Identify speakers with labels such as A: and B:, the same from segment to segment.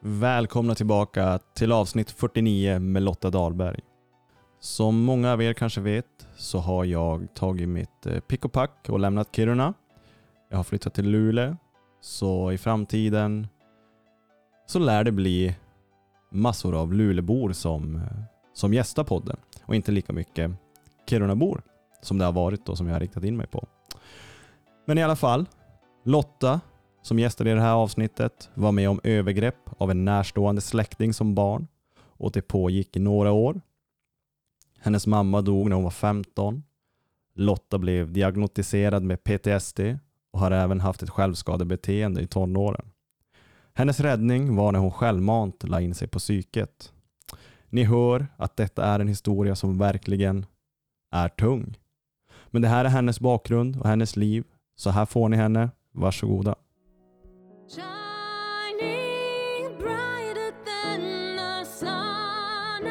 A: Välkomna tillbaka till avsnitt 49 med Lotta Dahlberg. Som många av er kanske vet så har jag tagit mitt eh, pick och pack och lämnat Kiruna. Jag har flyttat till Luleå, så i framtiden så lär det bli massor av Luleåbor som, eh, som gästar podden och inte lika mycket Kirunabor som det har varit och som jag har riktat in mig på. Men i alla fall, Lotta som gästade i det här avsnittet var med om övergrepp av en närstående släkting som barn och det pågick i några år. Hennes mamma dog när hon var 15. Lotta blev diagnostiserad med PTSD och har även haft ett självskadebeteende i tonåren. Hennes räddning var när hon självmant la in sig på psyket. Ni hör att detta är en historia som verkligen är tung. Men det här är hennes bakgrund och hennes liv, så här får ni henne. Varsågoda.
B: Shining brighter than the sun, I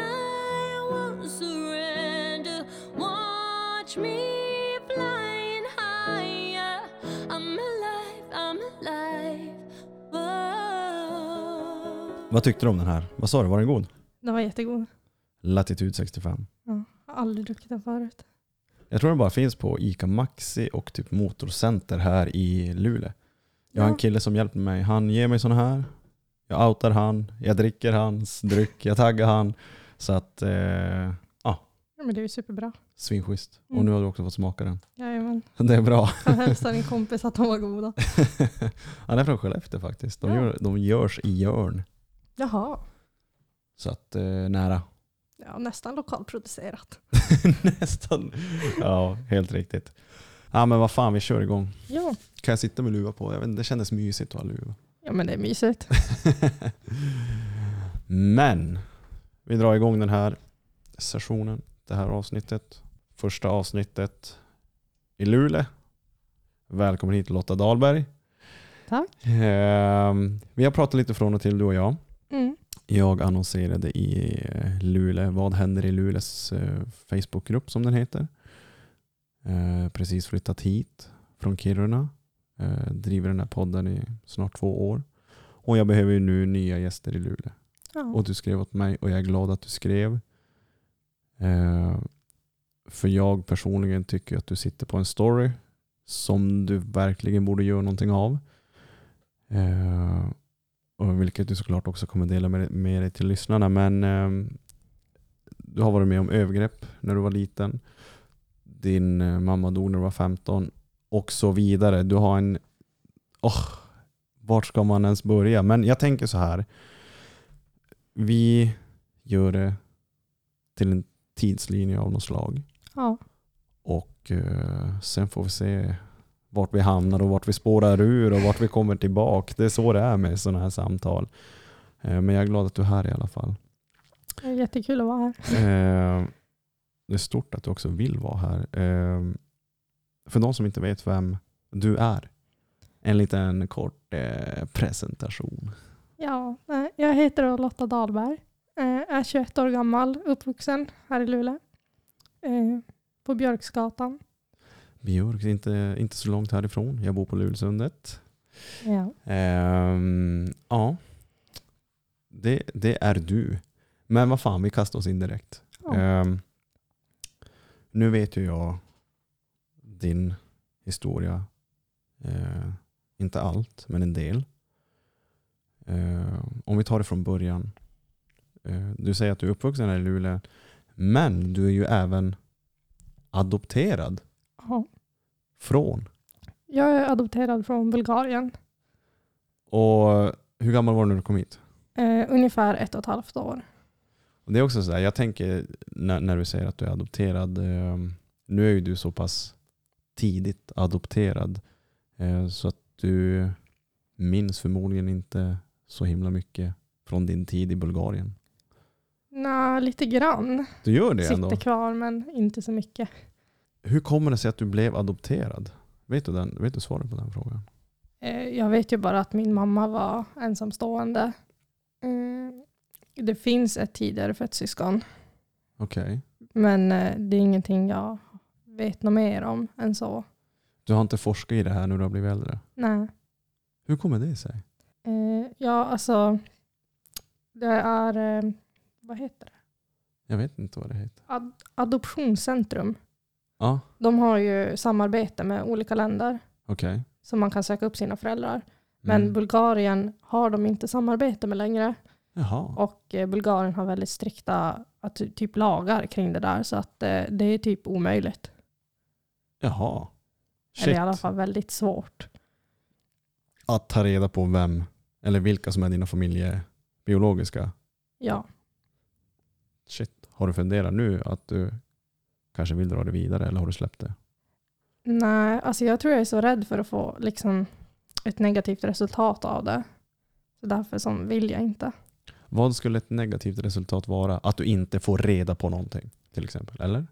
B: won't surrender. Watch me flying higher. I'm alive, I'm alive. Whoa.
A: Vad tyckte du om den här? Vad sa du, var den god?
C: Den var jättegod.
A: Latitud 65.
C: Har aldrig druckit den förut.
A: Jag tror den bara finns på ICA Maxi och typ motorcenter här i Luleå. Jag har en kille som hjälper mig. Han ger mig sådana här. Jag outar han, jag dricker hans dryck, jag taggar han. Så att, eh,
C: Ja, men det är ju superbra.
A: svinschysst. Och
C: Mm.
A: nu har du också fått smaka den.
C: Jajamän.
A: Det är bra.
C: Han hälsar en kompis att de var goda.
A: han är från Skellefteå faktiskt. De,
C: Ja.
A: gör, de görs i Jörn.
C: Jaha.
A: Så att, eh, nära.
C: Ja, nästan lokalproducerat.
A: Nästan. Ja, helt riktigt. Ja men vad fan, vi kör igång.
C: Ja.
A: Kan jag sitta med luva på? Jag vet inte, det kändes mysigt att ha luva.
C: ja, men det är mysigt.
A: Men vi drar igång den här sessionen, det här avsnittet. Första avsnittet i Luleå. Välkommen hit Lotta Dahlberg.
C: Tack.
A: Ehm, vi har pratat lite från och till du och jag.
C: Mm.
A: Jag annonserade i eh, Luleå, Vad händer i Luleås eh, Facebookgrupp som den heter. Eh, Precis flyttat hit från Kiruna. Eh, Driver den här podden i snart två år. Och jag behöver ju nu nya gäster i Luleå.
C: Ja.
A: Och du skrev åt mig och jag är glad att du skrev. Eh, För jag personligen tycker att du sitter på en story som du verkligen borde göra någonting av. Eh, och vilket du såklart också kommer dela med, med dig till lyssnarna. Men eh, du har varit med om övergrepp när du var liten. Din eh, mamma dog när du var 15 och så vidare. Du har en... Åh, vart ska man ens börja? Men jag tänker så här. Vi gör det till en tidslinje av något slag.
C: ja.
A: Och eh, sen får vi se vart vi hamnar och vart vi spårar ur och vart vi kommer tillbaka. Det är så det är med sådana här samtal. Eh, men jag är glad att du är här i alla fall.
C: Det är jättekul att vara här.
A: Eh, det är stort att du också vill vara här. Eh, för de som inte vet vem du är, en liten kort eh, presentation.
C: Ja, nej, jag heter då Lotta Dahlberg. Eh, Är 21 år gammal, uppvuxen här i Luleå. Eh, På Björksgatan.
A: Björk, inte, inte så långt härifrån. Jag bor på Lulsundet.
C: Ja.
A: Ehm, ja, det, det är du. Men vad fan, vi kastar oss in direkt.
C: Ja.
A: Ehm, nu vet ju jag din historia. Eh, inte allt, men en del. Eh, om vi tar det från början. Eh, du säger att du är uppvuxen här i Luleå, men du är ju även adopterad
C: Ja.
A: från.
C: Jag är adopterad från Bulgarien.
A: Och hur gammal var du när du kom hit?
C: Eh, Ungefär ett och ett halvt år.
A: Och det är också så här, jag tänker när, när du säger att du är adopterad. Eh, nu är ju du så pass tidigt adopterad eh, så att du minns förmodligen inte så himla mycket från din tid i Bulgarien.
C: Nej, lite grann.
A: Du gör det ändå.
C: Sitter kvar men inte så mycket.
A: Hur kommer det sig att du blev adopterad? Vet du, den, vet du svaret på den frågan?
C: Eh, Jag vet ju bara att min mamma var ensamstående. Mm, Det finns ett tidigare fött syskon,
A: Okej.
C: men eh, det är ingenting jag vet något mer om än så.
A: Du har inte forskat i det här när du har blivit äldre.
C: Nej.
A: Hur kommer det sig?
C: Eh, Ja, alltså, Det är, eh, vad heter det?
A: Jag vet inte vad det heter.
C: Ad adoptionscentrum.
A: Ja,
C: De har ju samarbete med olika länder
A: okej. Mm.
C: som man kan söka upp sina föräldrar. Men Bulgarien har de inte samarbete med längre.
A: Jaha.
C: Och eh, Bulgarien har väldigt strikta att, typ lagar kring det där. Så att eh, det är typ omöjligt.
A: Jaha.
C: Eller
A: Shit.
C: i alla fall väldigt svårt.
A: Att ta reda på vem eller vilka som är dina familjebiologiska.
C: Ja.
A: Shit. Har du funderat nu att du kanske vill dra det vidare eller har du släppt det?
C: Nej, alltså jag tror jag är så rädd för att få liksom, ett negativt resultat av det. Så därför som vill jag inte.
A: Vad skulle ett negativt resultat vara? Att du inte får reda på någonting till exempel, eller?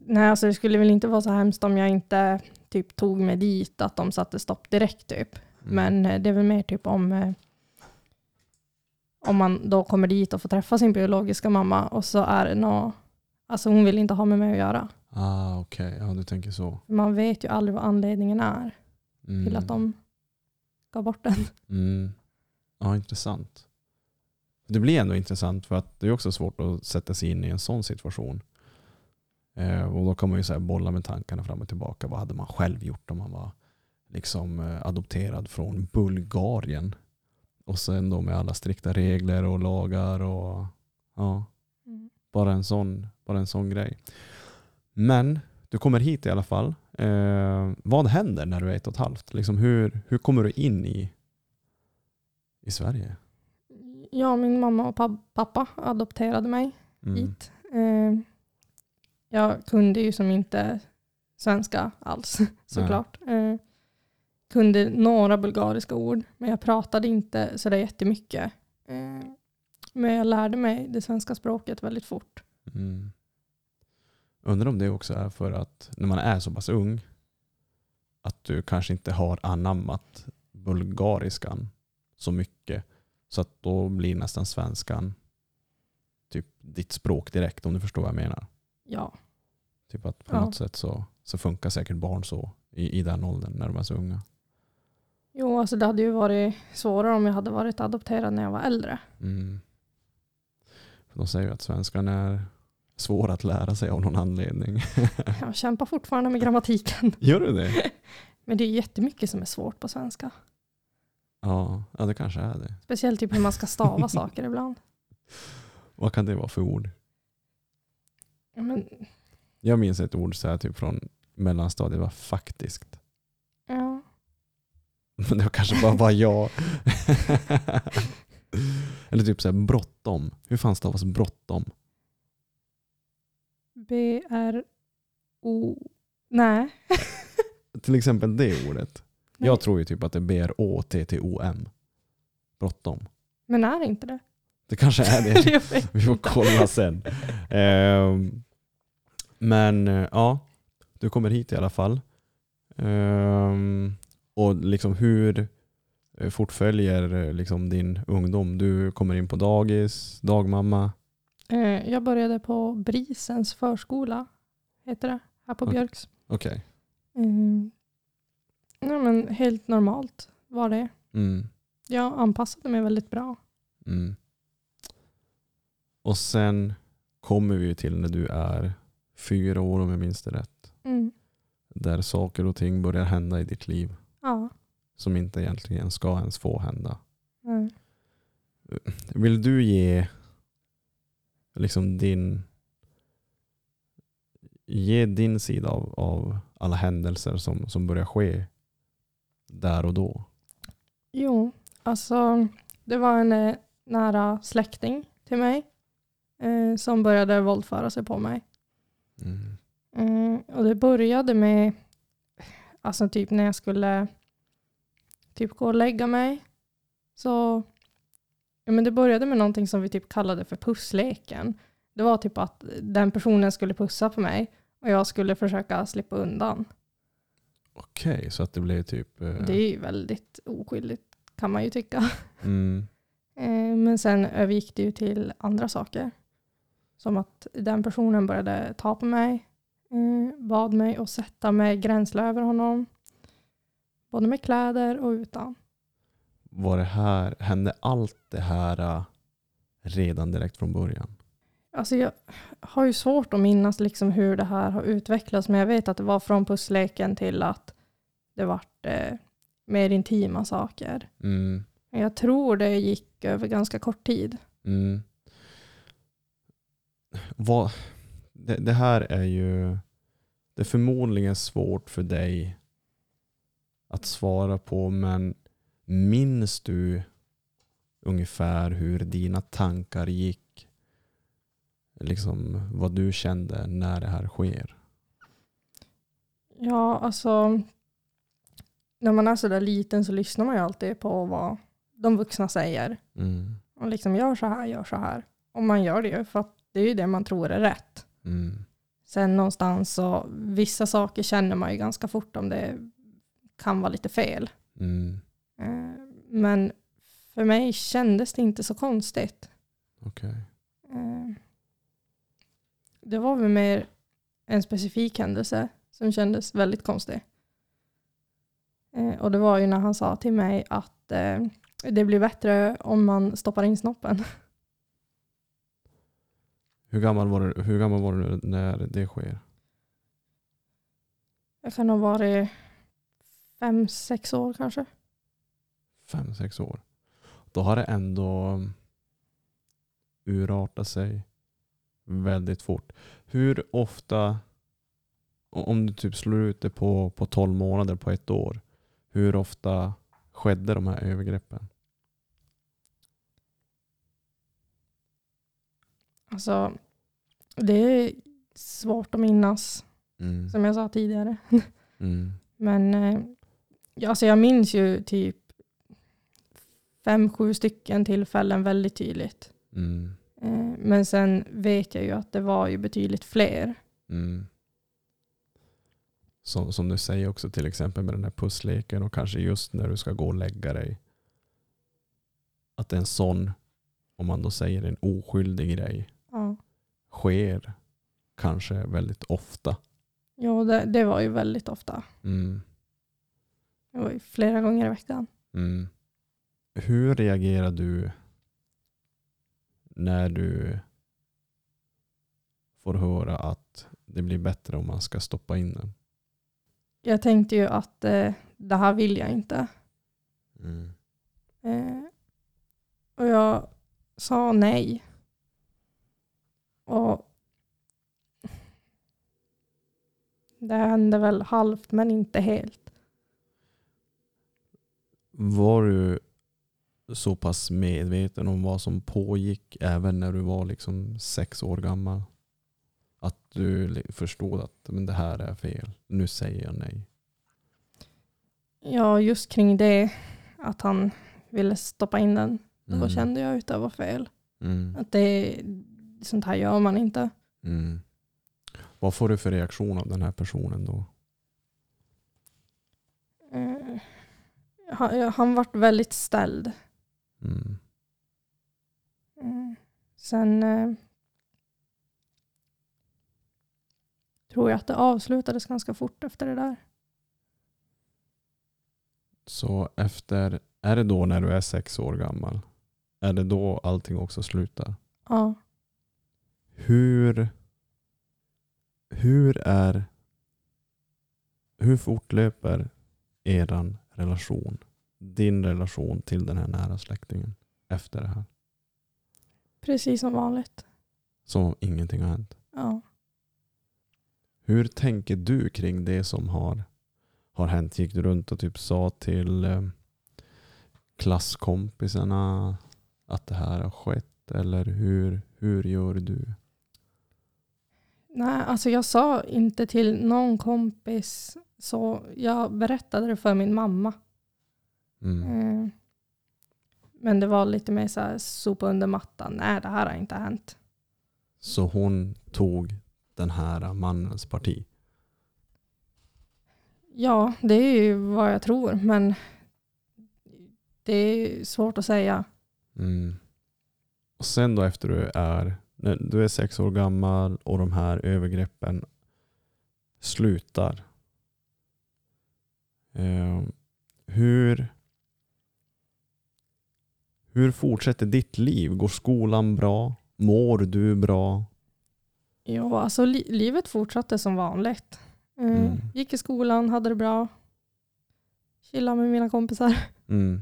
C: Nej, alltså det skulle väl inte vara så hemskt om jag inte typ tog mig dit, att de satte stopp direkt typ.
A: Mm.
C: Men eh, det är väl mer typ om eh, om man då kommer dit och får träffa sin biologiska mamma och så är det nå, alltså hon vill inte ha med mig att göra.
A: Ah, okej. Ja, du tänker så.
C: Man vet ju aldrig vad anledningen är
A: Mm.
C: till att de gav bort den.
A: Mm. Ja, intressant. Det blir ändå intressant för att det är också svårt att sätta sig in i en sån situation. Eh, och då kan man ju så här bolla med tankarna fram och tillbaka. Vad hade man själv gjort om man var liksom eh, adopterad från Bulgarien? Och sen då med alla strikta regler och lagar och ja,
C: Mm.
A: bara en sån, bara en sån grej. Men du kommer hit i alla fall. Eh, vad händer när du är ett och ett halvt? Liksom hur, hur kommer du in i, i Sverige?
C: Ja, min mamma och pab- pappa adopterade mig
A: Mm.
C: hit. Eh, jag kunde ju som inte svenska alls såklart. Eh, kunde några bulgariska ord, men jag pratade inte sådär jättemycket. Eh, men jag lärde mig det svenska språket väldigt fort.
A: Mm. Undrar om det också är för att när man är så pass ung att du kanske inte har anammat bulgariskan så mycket så att då blir nästan svenskan typ ditt språk direkt om du förstår vad jag menar.
C: Ja,
A: Typ att på
C: Ja.
A: något sätt så, så funkar säkert barn så i, i den åldern när de är så unga.
C: jo, alltså det hade ju varit svårare om jag hade varit adopterad när jag var äldre.
A: Mm. För de säger ju att svenskan är svår att lära sig av någon anledning.
C: Jag kämpar fortfarande med grammatiken.
A: Gör du det?
C: Men det är jättemycket som är svårt på svenska.
A: Ja, ja det kanske är det.
C: Speciellt typ hur man ska stava saker ibland.
A: Vad kan det vara för ord?
C: Ja, Men,
A: Jag minns ett ord så här typ från mellanstadiet, det var faktiskt.
C: ja.
A: Men det var kanske bara var jag. Eller typ så här bråttom. Hur fan stavas bråttom?
C: B-R-O... Nej.
A: Till exempel det ordet.
C: Nej.
A: Jag tror ju typ att det är B-R-Å-T-T-O-M. Bråttom.
C: Men är det inte det?
A: Det kanske är det.
C: Jag vet
A: Vi får
C: inte.
A: kolla sen. Ehm, men eh, ja, du kommer hit i alla fall. Ehm, och liksom hur eh, fortföljer eh, liksom din ungdom? Du kommer in på dagis, dagmamma.
C: Eh, Jag började på Brisens förskola, heter det, här på
A: Okej.
C: Björks.
A: Okej.
C: Mm. Nej, men helt normalt var det.
A: Mm,
C: Jag anpassade mig väldigt bra.
A: mm. Och sen kommer vi ju till när du är fyra år om jag minns det rätt.
C: Mm.
A: Där saker och ting börjar hända i ditt liv
C: Ja.
A: som inte egentligen ska ens få hända.
C: Mm.
A: Vill du ge liksom din ge din sida av, av alla händelser som, som börjar ske där och då?
C: Jo, alltså det var en eh, nära släkting till mig eh, som började våldföra sig på mig. Mm, och det började med alltså typ när jag skulle typ gå och lägga mig. Så ja, men det började med någonting som vi typ kallade för pussleken. Det var typ att den personen skulle pussa på mig och jag skulle försöka slippa undan.
A: Okej, så att det blev typ... eh,
C: Det är ju väldigt oskyldigt kan man ju tycka.
A: Mm,
C: Eh, Men sen övergick det ju till andra saker. Som att den personen började ta på mig, eh, bad mig att sätta mig gränsla över honom. Både med kläder och utan.
A: var det här, hände allt det här eh, redan direkt från början?
C: Alltså jag har ju svårt att minnas liksom hur det här har utvecklats, men jag vet att det var från pussleken till att det vart eh, mer intima saker.
A: Mm.
C: Men Jag tror det gick över ganska kort tid.
A: Mm. Vad, det, det här är ju det är förmodligen svårt för dig att svara på, men minns du ungefär hur dina tankar gick? Liksom vad du kände när det här sker?
C: Ja, alltså när man är sådär liten så lyssnar man ju alltid på vad de vuxna säger.
A: Mm.
C: Och liksom gör så här, gör så här. Och man gör det ju för att det är ju det man tror är rätt.
A: Mm.
C: Sen någonstans så, vissa saker känner man ju ganska fort om det kan vara lite fel.
A: Mm.
C: Eh, Men för mig kändes det inte så konstigt.
A: Okej.
C: Eh, Det var väl mer en specifik händelse som kändes väldigt konstig. Eh, Och det var ju när han sa till mig att eh, det blir bättre om man stoppar in snoppen.
A: Hur gammal var du, hur gammal var du när det sker?
C: Jag kan ha varit fem, sex år kanske.
A: fem, sex år. Då har det ändå urartat sig väldigt fort. Hur ofta, o- om du typ slår ut det på, på 12 månader på ett år, hur ofta skedde de här övergreppen?
C: Alltså, det är svårt att minnas,
A: Mm.
C: som jag sa tidigare.
A: Mm.
C: Men eh, ja, alltså jag minns ju typ fem, sju stycken tillfällen väldigt tydligt.
A: Mm.
C: Eh, men sen vet jag ju att det var ju betydligt fler.
A: Mm. Som, som du säger också till exempel med den här pussleken och kanske just när du ska gå och lägga dig. Att en sån, om man då säger en oskyldig grej,
C: Ja,
A: sker kanske väldigt ofta.
C: jo, det, det var ju väldigt ofta.
A: Mm.
C: Det var ju flera gånger i veckan.
A: Mm. Hur reagerar du när du får höra att det blir bättre om man ska stoppa in den?
C: Jag tänkte ju att eh, det här vill jag inte.
A: Mm.
C: Eh, och jag sa nej. Och det hände väl halvt men inte helt.
A: Var du så pass medveten om vad som pågick även när du var liksom sex år gammal? Att du li- förstod att men det här är fel, nu säger jag nej.
C: Ja, just kring det att han ville stoppa in den. Då
A: Mm.
C: kände jag att det var fel.
A: Mm.
C: Att det, sånt här gör man inte.
A: Mm. Vad får du för reaktion av den här personen då?
C: Eh, han, han vart väldigt ställd.
A: Mm.
C: Mm. Sen eh, tror jag att det avslutades ganska fort efter det där.
A: Så efter, är det då när du är sex år gammal? Är det då allting också slutar?
C: Ja.
A: Hur, hur är, hur fortlöper eran relation? Din relation till den här nära släktingen efter det här?
C: Precis som vanligt.
A: Som om ingenting har hänt.
C: Ja.
A: Hur tänker du kring det som har, har hänt? Gick du runt och typ sa till eh, klasskompisarna att det här har skett? Eller hur, hur gör du?
C: Nej, alltså jag sa inte till någon kompis så jag berättade det för min mamma.
A: Mm.
C: Eh, Men det var lite mer så här sopa under mattan. Nej, det här har inte hänt.
A: Så hon tog den här mannens parti.
C: Ja, det är ju vad jag tror, men det är svårt att säga.
A: Mm. Och sen då efter du är, när du är sex år gammal och de här övergreppen slutar. Ehm, Eh, hur, Hur fortsätter ditt liv? Går skolan bra? Mår du bra?
C: Ja, alltså li livet fortsatte som vanligt. Eh,
A: Mm.
C: Gick i skolan, hade det bra. Chillade med mina kompisar.
A: Mm.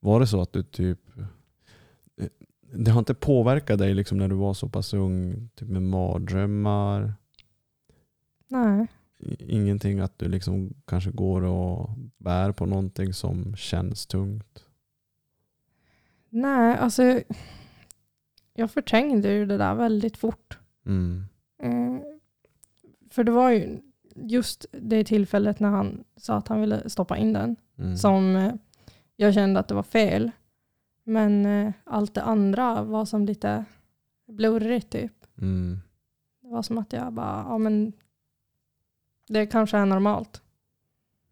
A: Var det så att du typ... eh, Det har inte påverkat dig liksom när du var så pass ung? Typ med mardrömmar?
C: Nej,
A: I- Ingenting att du liksom kanske går och bär på någonting som känns tungt?
C: nej alltså jag- jag förträngde ju det där väldigt fort.
A: Mm.
C: Eh, För det var ju just det tillfället när han sa att han ville stoppa in den
A: Mm.
C: som eh, jag kände att det var fel. Men eh, allt det andra var som lite blurrigt typ.
A: Mm.
C: Det var som att jag bara, ja men det kanske är normalt.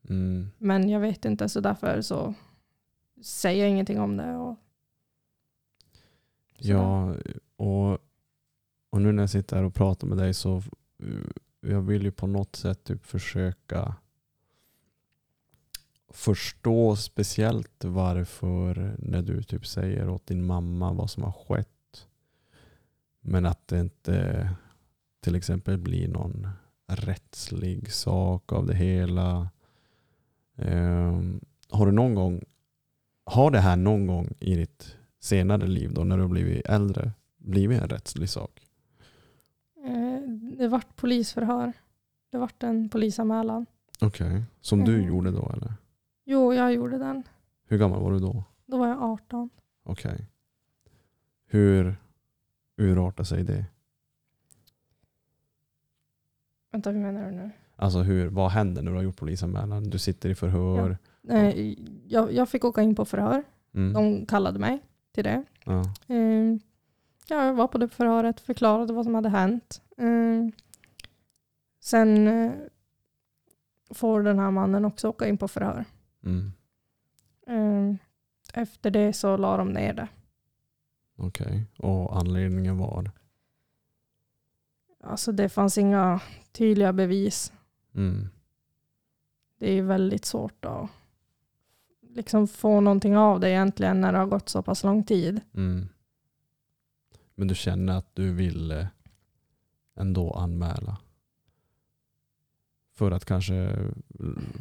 A: Mm.
C: Men jag vet inte så därför så säger jag ingenting om det. Och sådär.
A: Ja, och, och nu när jag sitter här och pratar med dig så eh, jag vill ju på något sätt typ försöka förstå speciellt varför när du typ säger åt din mamma vad som har skett men att det inte till exempel blir någon rättslig sak av det hela. Ehm, har du någon gång har det här någon gång i ditt senare liv då när du har blivit äldre blivit en rättslig sak.
C: Eh, Det vart polisförhör. Det vart en polisanmälan.
A: Okej. Som du
C: Mm.
A: gjorde då eller?
C: Jo, jag gjorde den.
A: Hur gammal var du då?
C: Då var jag 18.
A: Okej. Hur urartar sig det?
C: Vänta, hur menar du nu?
A: Alltså hur, vad händer när du har gjort polisanmälan? Du sitter i förhör.
C: Eh, Jag, jag fick åka in på förhör.
A: Mm.
C: De kallade mig till det.
A: Ja.
C: Eh, ja, jag var på det förhöret, förklarade vad som hade hänt. Eh, sen eh, får den här mannen också åka in på förhör.
A: Mm.
C: Eh, efter det så la de ner det.
A: Okej. Och anledningen var?
C: Alltså det fanns inga tydliga bevis.
A: Mm.
C: Det är väldigt svårt att liksom få någonting av det egentligen när det har gått så pass lång tid.
A: Mm. Men du känner att du ville ändå anmäla? För att kanske eh,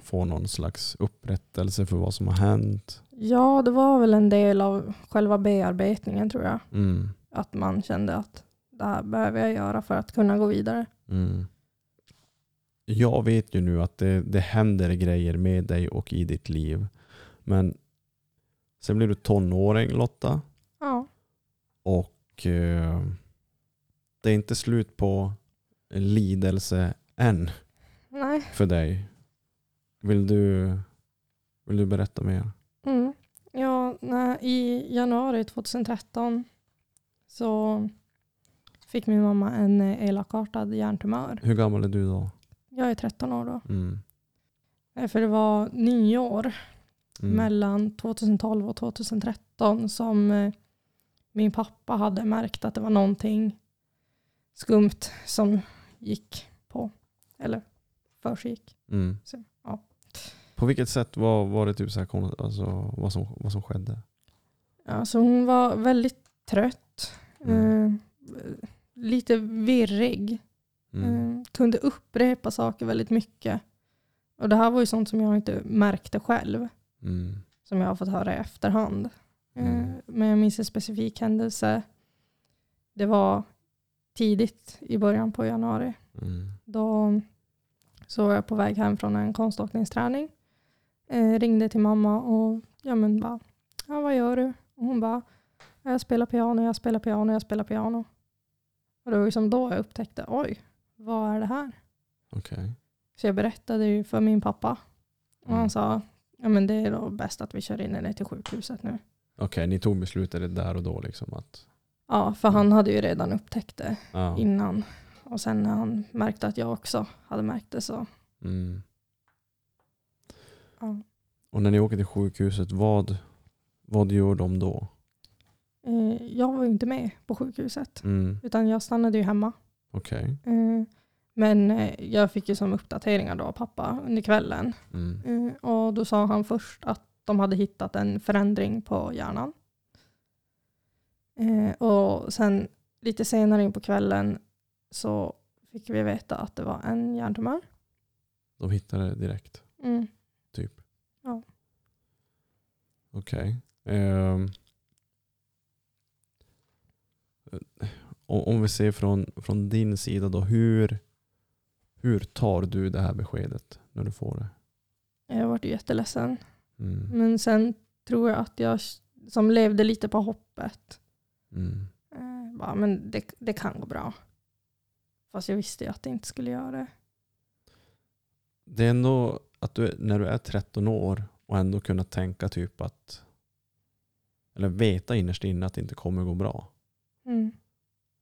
A: få någon slags upprättelse för vad som har hänt?
C: Ja, det var väl en del av själva bearbetningen tror jag.
A: Mm.
C: Att man kände att det här behöver jag göra för att kunna gå vidare.
A: Mm. Jag vet ju nu att det, det händer grejer med dig och i ditt liv. Men sen blir du tonåring Lotta.
C: Ja.
A: Och eh, det är inte slut på lidelse än.
C: Nej.
A: för dig. Vill du, vill du berätta mer?
C: Mm. Ja, när, I januari 2013 så fick min mamma en eh, elakartad hjärntumör.
A: Hur gammal är du då?
C: Jag är 13 år då.
A: Mm.
C: Eh, För det var nyår
A: Mm.
C: mellan 2012 och 2013 som eh, min pappa hade märkt att det var någonting skumt som gick på. Eller försiggick.
A: Mm.
C: Så, ja.
A: På vilket sätt var, var det typ så här, kon- alltså, vad, som, vad som skedde?
C: Alltså hon var väldigt trött.
A: Mm.
C: Eh, lite virrig.
A: Mm.
C: Eh, kunde upprepa saker väldigt mycket. Och det här var ju sånt som jag inte märkte själv.
A: Mm.
C: Som jag har fått höra i efterhand. Eh,
A: Mm.
C: Men jag minns en specifik händelse. Det var tidigt i början på januari.
A: Mm.
C: Då så var jag på väg hem från en konståkningsträning. Eh, ringde till mamma och ja men bara, ja vad gör du? Och hon bara, jag spelar piano, jag spelar piano, jag spelar piano. Och det var ju som då jag upptäckte, oj, vad är det här?
A: Okej.
C: Så jag berättade ju för min pappa. Och
A: Mm.
C: han sa, ja men det är då bäst att vi kör in henne till sjukhuset nu.
A: Okej, ni tog beslutet där och då liksom att...
C: Ja, för han hade ju redan upptäckt det
A: Mm. Ja.
C: innan. Och sen när han märkte att jag också hade märkt det så,
A: Mm.
C: ja.
A: Och när ni åker till sjukhuset, vad, vad gör de då?
C: Eh, Jag var ju inte med på sjukhuset,
A: Mm.
C: utan jag stannade ju hemma.
A: Okej.
C: Eh, Men eh, jag fick ju som uppdateringar då av pappa under kvällen.
A: Mm.
C: Eh, Och då sa han först att de hade hittat en förändring på hjärnan. Eh, och sen lite senare in på kvällen så fick vi veta att det var en hjärntumör.
A: De hittade det direkt.
C: Mm.
A: Typ.
C: Ja.
A: Okej. Ehm. O- om vi ser från, från din sida då, hur, hur tar du det här beskedet när du får det?
C: Jag var jätteledsen.
A: Mm.
C: Men sen tror jag att jag som levde lite på hoppet.
A: Mm.
C: Eh, bara, men det, det kan gå bra. Fast jag visste ju att det inte skulle göra det.
A: Det är ändå att du, när du är 13 år och ändå kunna tänka typ att, eller veta innerst inne att det inte kommer gå bra.
C: Mm.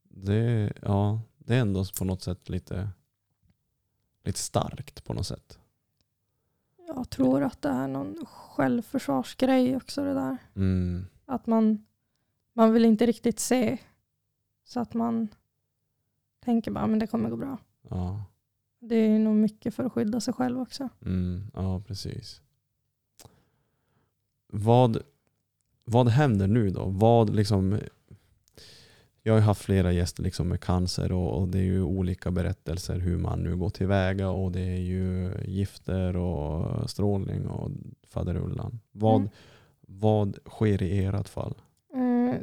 A: Det, ja, det är ändå på något sätt lite, lite starkt på något sätt.
C: Jag tror att det är någon självförsvarsgrej också det där.
A: Mm.
C: Att man, man vill inte riktigt se. Så att man tänker bara, men det kommer gå bra.
A: Ja.
C: Det är nog mycket för att skydda sig själv också.
A: Mm, ja, precis. Vad, vad händer nu då? Vad liksom, jag har ju haft flera gäster liksom med cancer och, och det är ju olika berättelser hur man nu går tillväga och det är ju gifter och strålning och faderullan. Vad,
C: Mm.
A: vad sker i ert fall?
C: Eh,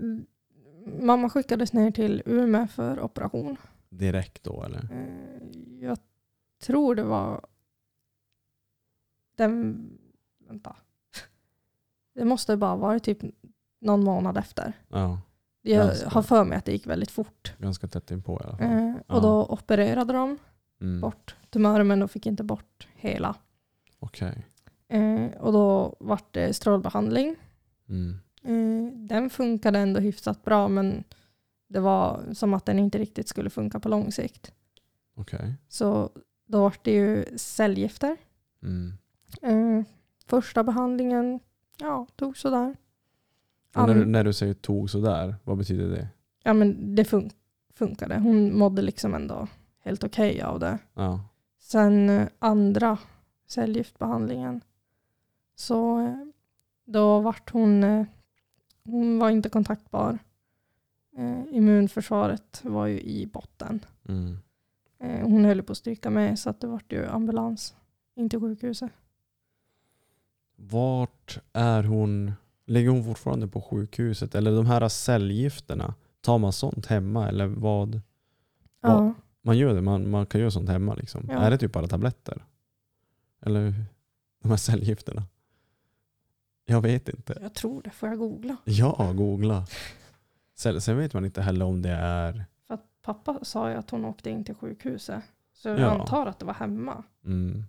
C: mamma skickades ner till Umeå för operation.
A: Direkt då eller?
C: Eh, jag tror det var den, vänta. Det måste bara vara typ någon månad efter.
A: Ja,
C: Jag
A: Ganska.
C: har för mig att det gick väldigt fort.
A: ganska tätt inpå i alla fall.
C: Eh, och då opererade de
A: Mm.
C: bort tumören men de fick inte bort hela.
A: Okej.
C: Eh, och då vart det strålbehandling.
A: Mm.
C: Eh, den funkade ändå hyfsat bra men det var som att den inte riktigt skulle funka på lång sikt.
A: Okej.
C: Så då vart det ju cellgifter.
A: Mm.
C: Eh, första behandlingen ja, tog sådär.
A: Och När, du,
C: An-
A: när du säger tog sådär, vad betyder det?
C: ja, men det fun- funkade. Hon mådde liksom ändå helt okej av det.
A: Ja.
C: Sen eh, andra cellgiftbehandlingen så eh, då vart hon, eh, hon var inte kontaktbar. Eh, Immunförsvaret var ju i botten.
A: Mm.
C: Eh, Hon höll på att stryka med så att det vart ju ambulans in till sjukhuset.
A: Vart är hon? Ligger hon fortfarande på sjukhuset? Eller de här cellgifterna, tar man sånt hemma? Eller vad?
C: Ja.
A: Man gör det, man, man kan göra sånt hemma liksom.
C: Ja.
A: Är det typ bara tabletter? Eller hur? de här cellgifterna? Jag vet inte.
C: Jag tror det, får jag googla?
A: Ja, googla. Sen, sen vet man inte heller om det är...
C: För att pappa sa ju att hon åkte in till sjukhuset. Så jag
A: Ja.
C: antar att det var hemma.
A: Mm.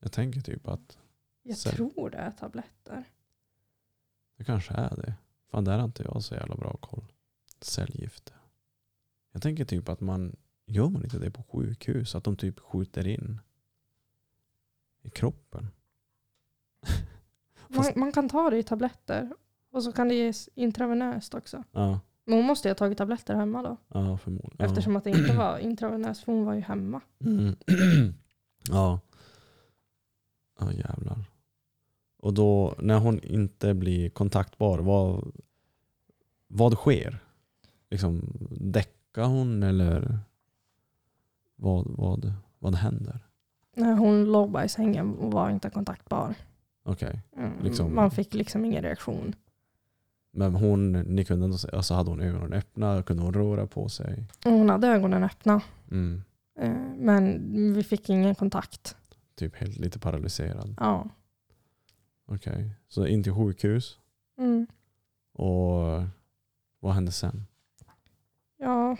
A: Jag tänker typ att
C: Jag
A: Så.
C: tror det är tabletter.
A: det kanske är det. Fan, där har inte jag så jävla bra koll. Cellgifter. Jag tänker typ att man gör man inte det på sjukhus? Att de typ skjuter in i kroppen?
C: Man,
A: Fast-
C: man kan ta det i tabletter. Och så kan det ges intravenöst också.
A: Ja,
C: Men hon måste ju ha tagit tabletter hemma då.
A: ja förmodligen. Ja.
C: Eftersom att det inte var intravenöst, för hon var ju hemma.
A: Mm. ja. Ja jävlar. Och då när hon inte blir kontaktbar, vad, vad sker? Liksom däckar hon eller vad, vad, vad händer?
C: Nej, Hon låg bara i sängen och var inte kontaktbar.
A: Okej,
C: Mm,
A: Liksom-
C: Man fick liksom ingen reaktion.
A: men hon, ni kunde ändå, se- alltså hade hon ögonen öppna? Kunde hon röra på sig?
C: Och Hon hade ögonen öppna,
A: Mm.
C: eh, men vi fick ingen kontakt.
A: Typ helt lite paralyserad.
C: Ja.
A: Okej, så in till sjukhus
C: Mm.
A: och vad hände sen?
C: Ja,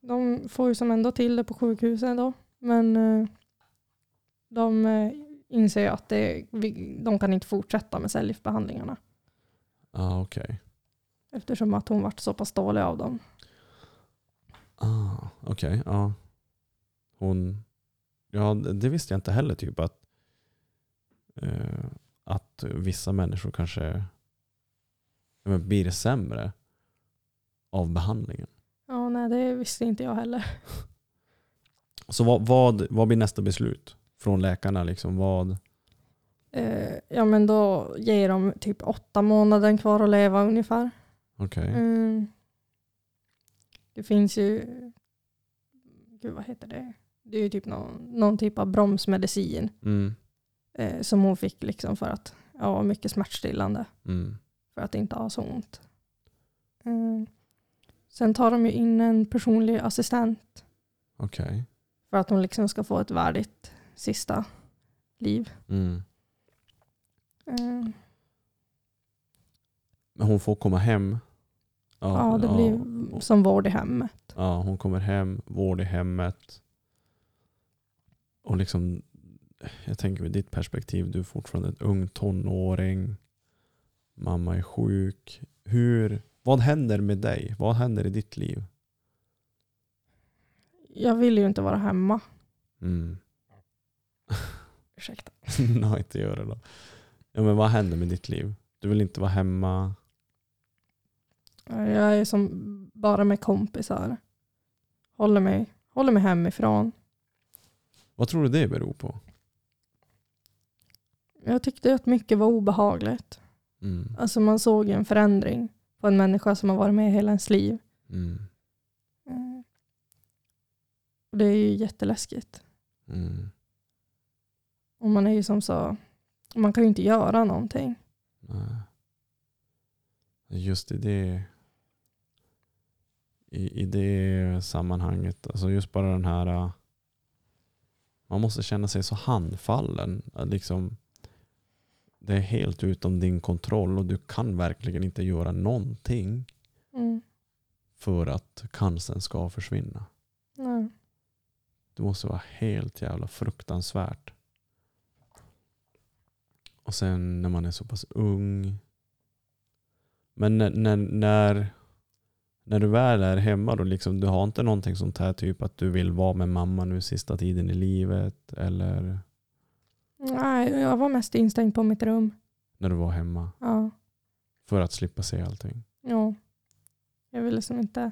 C: de får ju som ändå till det på sjukhuset då. Men eh, de eh, inser ju att det, vi, de kan inte fortsätta med cellgiftsbehandlingarna.
A: Ah, okej.
C: Eftersom att hon vart så pass dålig av dem.
A: Ah, okej. ja. Hon... Ja, det det visste jag inte heller typ att eh, att vissa människor kanske ja, men blir sämre av behandlingen.
C: Ja, nej det visste inte jag heller.
A: Så vad, vad, vad blir nästa beslut från läkarna? Liksom? Vad,
C: Eh, ja men då ger de typ åtta månader kvar att leva ungefär.
A: Okej.
C: Mm. Det finns ju, gud vad heter det? Det är ju typ någon, någon typ av bromsmedicin
A: Mm.
C: eh, som hon fick liksom för att, ja mycket smärtstillande
A: Mm.
C: för att inte ha så ont. Mm. Sen tar de ju in en personlig assistent
A: Okej.
C: för att hon liksom ska få ett värdigt sista liv.
A: Mm.
C: Mm.
A: Men hon får komma hem.
C: Ja, det blir som vård i hemmet.
A: Ja, hon kommer hem, vård i hemmet. Och liksom, jag tänker med ditt perspektiv, du är fortfarande en ung tonåring. Mamma är sjuk. Hur, vad händer med dig? Vad händer i ditt liv?
C: Jag vill ju inte vara hemma.
A: Mm.
C: Ursäkta.
A: Nej, inte göra då. Ja, men vad händer med ditt liv? Du vill inte vara hemma.
C: Eh, Jag är som bara med kompisar. Håller mig, håller mig hemifrån.
A: Vad tror du det beror på?
C: Jag tyckte att mycket var obehagligt.
A: Mm.
C: Alltså man såg ju en förändring på en människa som har varit med hela ens liv.
A: Mm.
C: Mm. Och Det är ju jätteläskigt.
A: Mm.
C: Och man är ju som så, man kan ju inte göra någonting.
A: Nej. Just i det, i, i det sammanhanget, alltså just bara den här, äh, man måste känna sig så handfallen. att Liksom, det är helt utom din kontroll och du kan verkligen inte göra någonting
C: Mm.
A: för att cancern ska försvinna.
C: Nej.
A: Det måste vara helt jävla fruktansvärt. Och sen när man är så pass ung. Men när, när, när, när du väl är hemma då, liksom, du har inte någonting sånt här typ att du vill vara med mamma nu sista tiden i livet eller
C: Nej, jag var mest instängd på mitt rum.
A: när du var hemma
C: Ja.
A: för att slippa se allting.
C: ja. Jag ville liksom inte,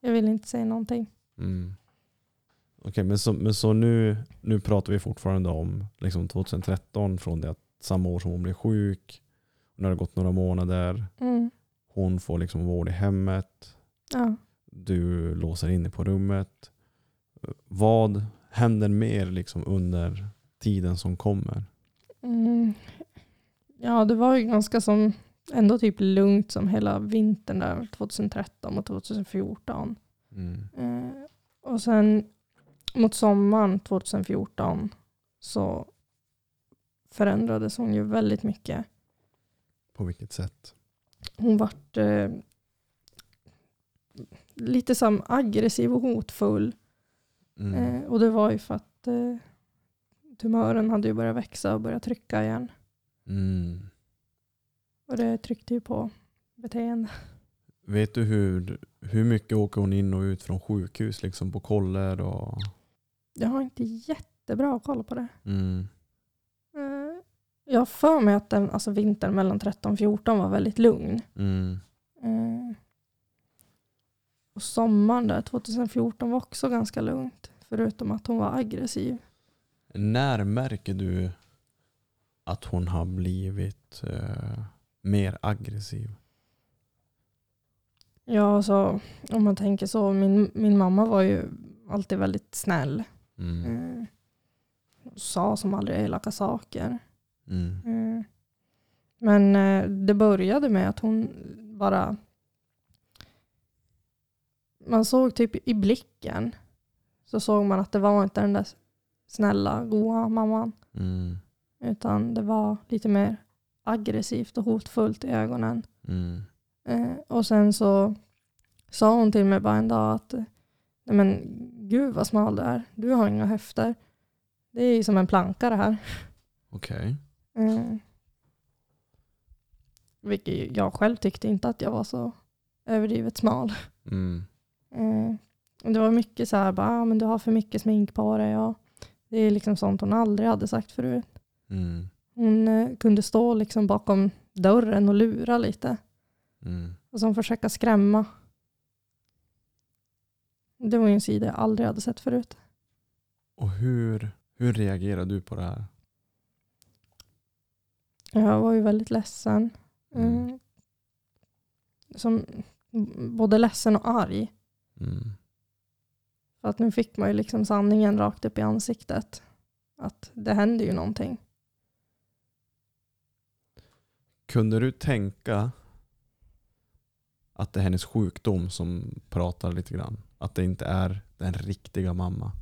C: jag ville inte säga någonting.
A: Mm. Okej, men så, men så nu, nu pratar vi fortfarande om liksom 2013 från det att samma år som hon blev sjuk, när det har gått några månader,
C: Mm.
A: Hon får liksom vård i hemmet.
C: Ja.
A: Du låser in dig på rummet. Vad händer mer liksom under tiden som kommer?
C: Mm. Ja, det var ju ganska som ändå typ lugnt som hela vintern där 2013 och 2014.
A: Mm.
C: Eh, och sen mot sommaren 2014 så förändrades hon ju väldigt mycket.
A: På vilket sätt?
C: Hon vart eh, lite som aggressiv och hotfull.
A: Mm.
C: Eh, och det var ju för att eh, tumören hade ju börjat växa och börjat trycka igen.
A: Mm.
C: Och det tryckte ju på beteende.
A: Vet du hur, hur mycket åker hon in och ut från sjukhus liksom på koller? Och...
C: Jag har inte jättebra koll på det.
A: Mm.
C: Eh, Jag har för mig att den, alltså vintern mellan 13 och 14 var väldigt lugn.
A: Mm.
C: Eh, Och sommaren där 2014 var också ganska lugnt. Förutom att hon var aggressiv.
A: När märker du att hon har blivit eh, mer aggressiv?
C: Ja, alltså, om man tänker så. Min, min mamma var ju alltid väldigt snäll.
A: Mm.
C: Eh, Hon sa som aldrig elaka saker.
A: Mm.
C: Mm. Men eh, det började med att hon bara... Man såg typ i blicken så såg man att det var inte den där snälla, goa mamman.
A: Mm.
C: Utan det var lite mer aggressivt och hotfullt i ögonen.
A: Mm.
C: Eh, och sen så sa hon till mig bara en dag att Nej men gud vad smal du är. Du har inga höfter. Det är ju som en planka det här.
A: Okej.
C: Mm. Vilket jag själv tyckte inte att jag var så överdrivet smal.
A: Mm.
C: Mm. Det var mycket så här, bara, ah, men du har för mycket smink på dig. Och det är liksom sånt hon aldrig hade sagt förut.
A: Mm.
C: Hon eh, kunde stå liksom bakom dörren och lura lite.
A: Mm.
C: Och som försöka skrämma. Det var ju en sida jag aldrig hade sett förut.
A: Och hur, hur reagerar du på det här?
C: Jag var ju väldigt ledsen. Mm.
A: Mm.
C: Som, både ledsen och arg.
A: Mm.
C: För att nu fick man ju liksom sanningen rakt upp i ansiktet. Att det händer ju någonting.
A: Kunde du tänka att det är hennes sjukdom som pratar lite grann? Att det inte är den riktiga mamma?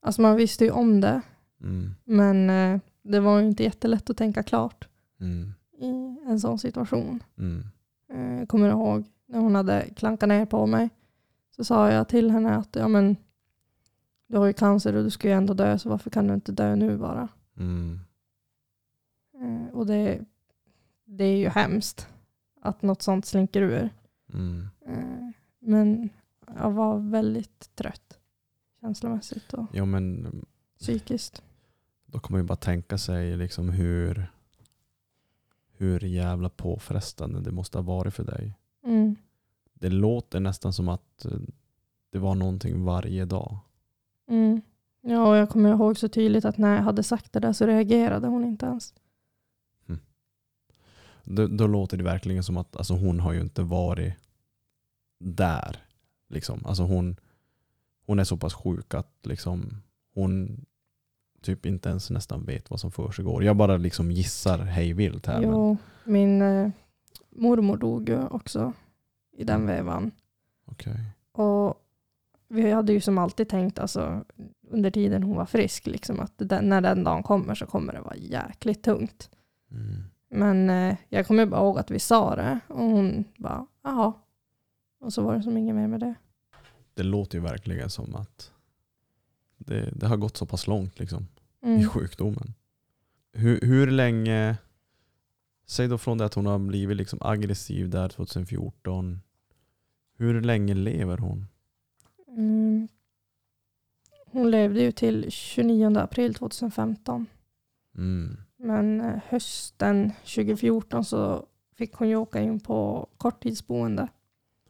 C: Alltså man visste ju om det,
A: Mm.
C: men eh, det var ju inte jättelätt att tänka klart
A: Mm.
C: i en sån situation.
A: Mm.
C: Eh, Jag kommer ihåg när hon hade klankat ner på mig. Så sa jag till henne att ja, men, du har ju cancer och du ska ju ändå dö så varför kan du inte dö nu bara?
A: Mm.
C: Eh, Och det, det är ju hemskt att något sånt slinker ur.
A: Mm.
C: Eh, Men jag var väldigt trött känslomässigt och
A: Jo, men
C: psykiskt.
A: då kan man ju bara tänka sig liksom hur, hur jävla påfrestande det måste ha varit för dig.
C: Mm.
A: Det låter nästan som att eh, det var någonting varje dag.
C: Mm. Ja, och jag kommer ihåg så tydligt att när jag hade sagt det där så reagerade hon inte ens.
A: Då, då låter det verkligen som att alltså, hon har ju inte varit där. Liksom. Alltså, hon, hon är så pass sjuk att liksom, hon typ inte ens nästan vet vad som försiggår. Jag bara liksom gissar hej vilt här. Men,
C: Jo, min eh, mormor dog ju också i den vevan.
A: Okej.
C: Och vi hade ju som alltid tänkt alltså, under tiden hon var frisk liksom, att den, när den dagen kommer så kommer det vara jäkligt tungt.
A: mm.
C: Men eh, jag kommer bara ihåg att vi sa det och hon bara jaha. Och så var det som inget mer med det.
A: Det låter ju verkligen som att det, det har gått så pass långt liksom,
C: Mm.
A: i sjukdomen. Hur, hur länge, säg då från det att hon har blivit liksom aggressiv där 2014, hur länge lever hon?
C: Mm. Hon levde ju till 29 april 2015.
A: Mm.
C: Men eh, hösten 2014 så fick hon ju åka in på korttidsboende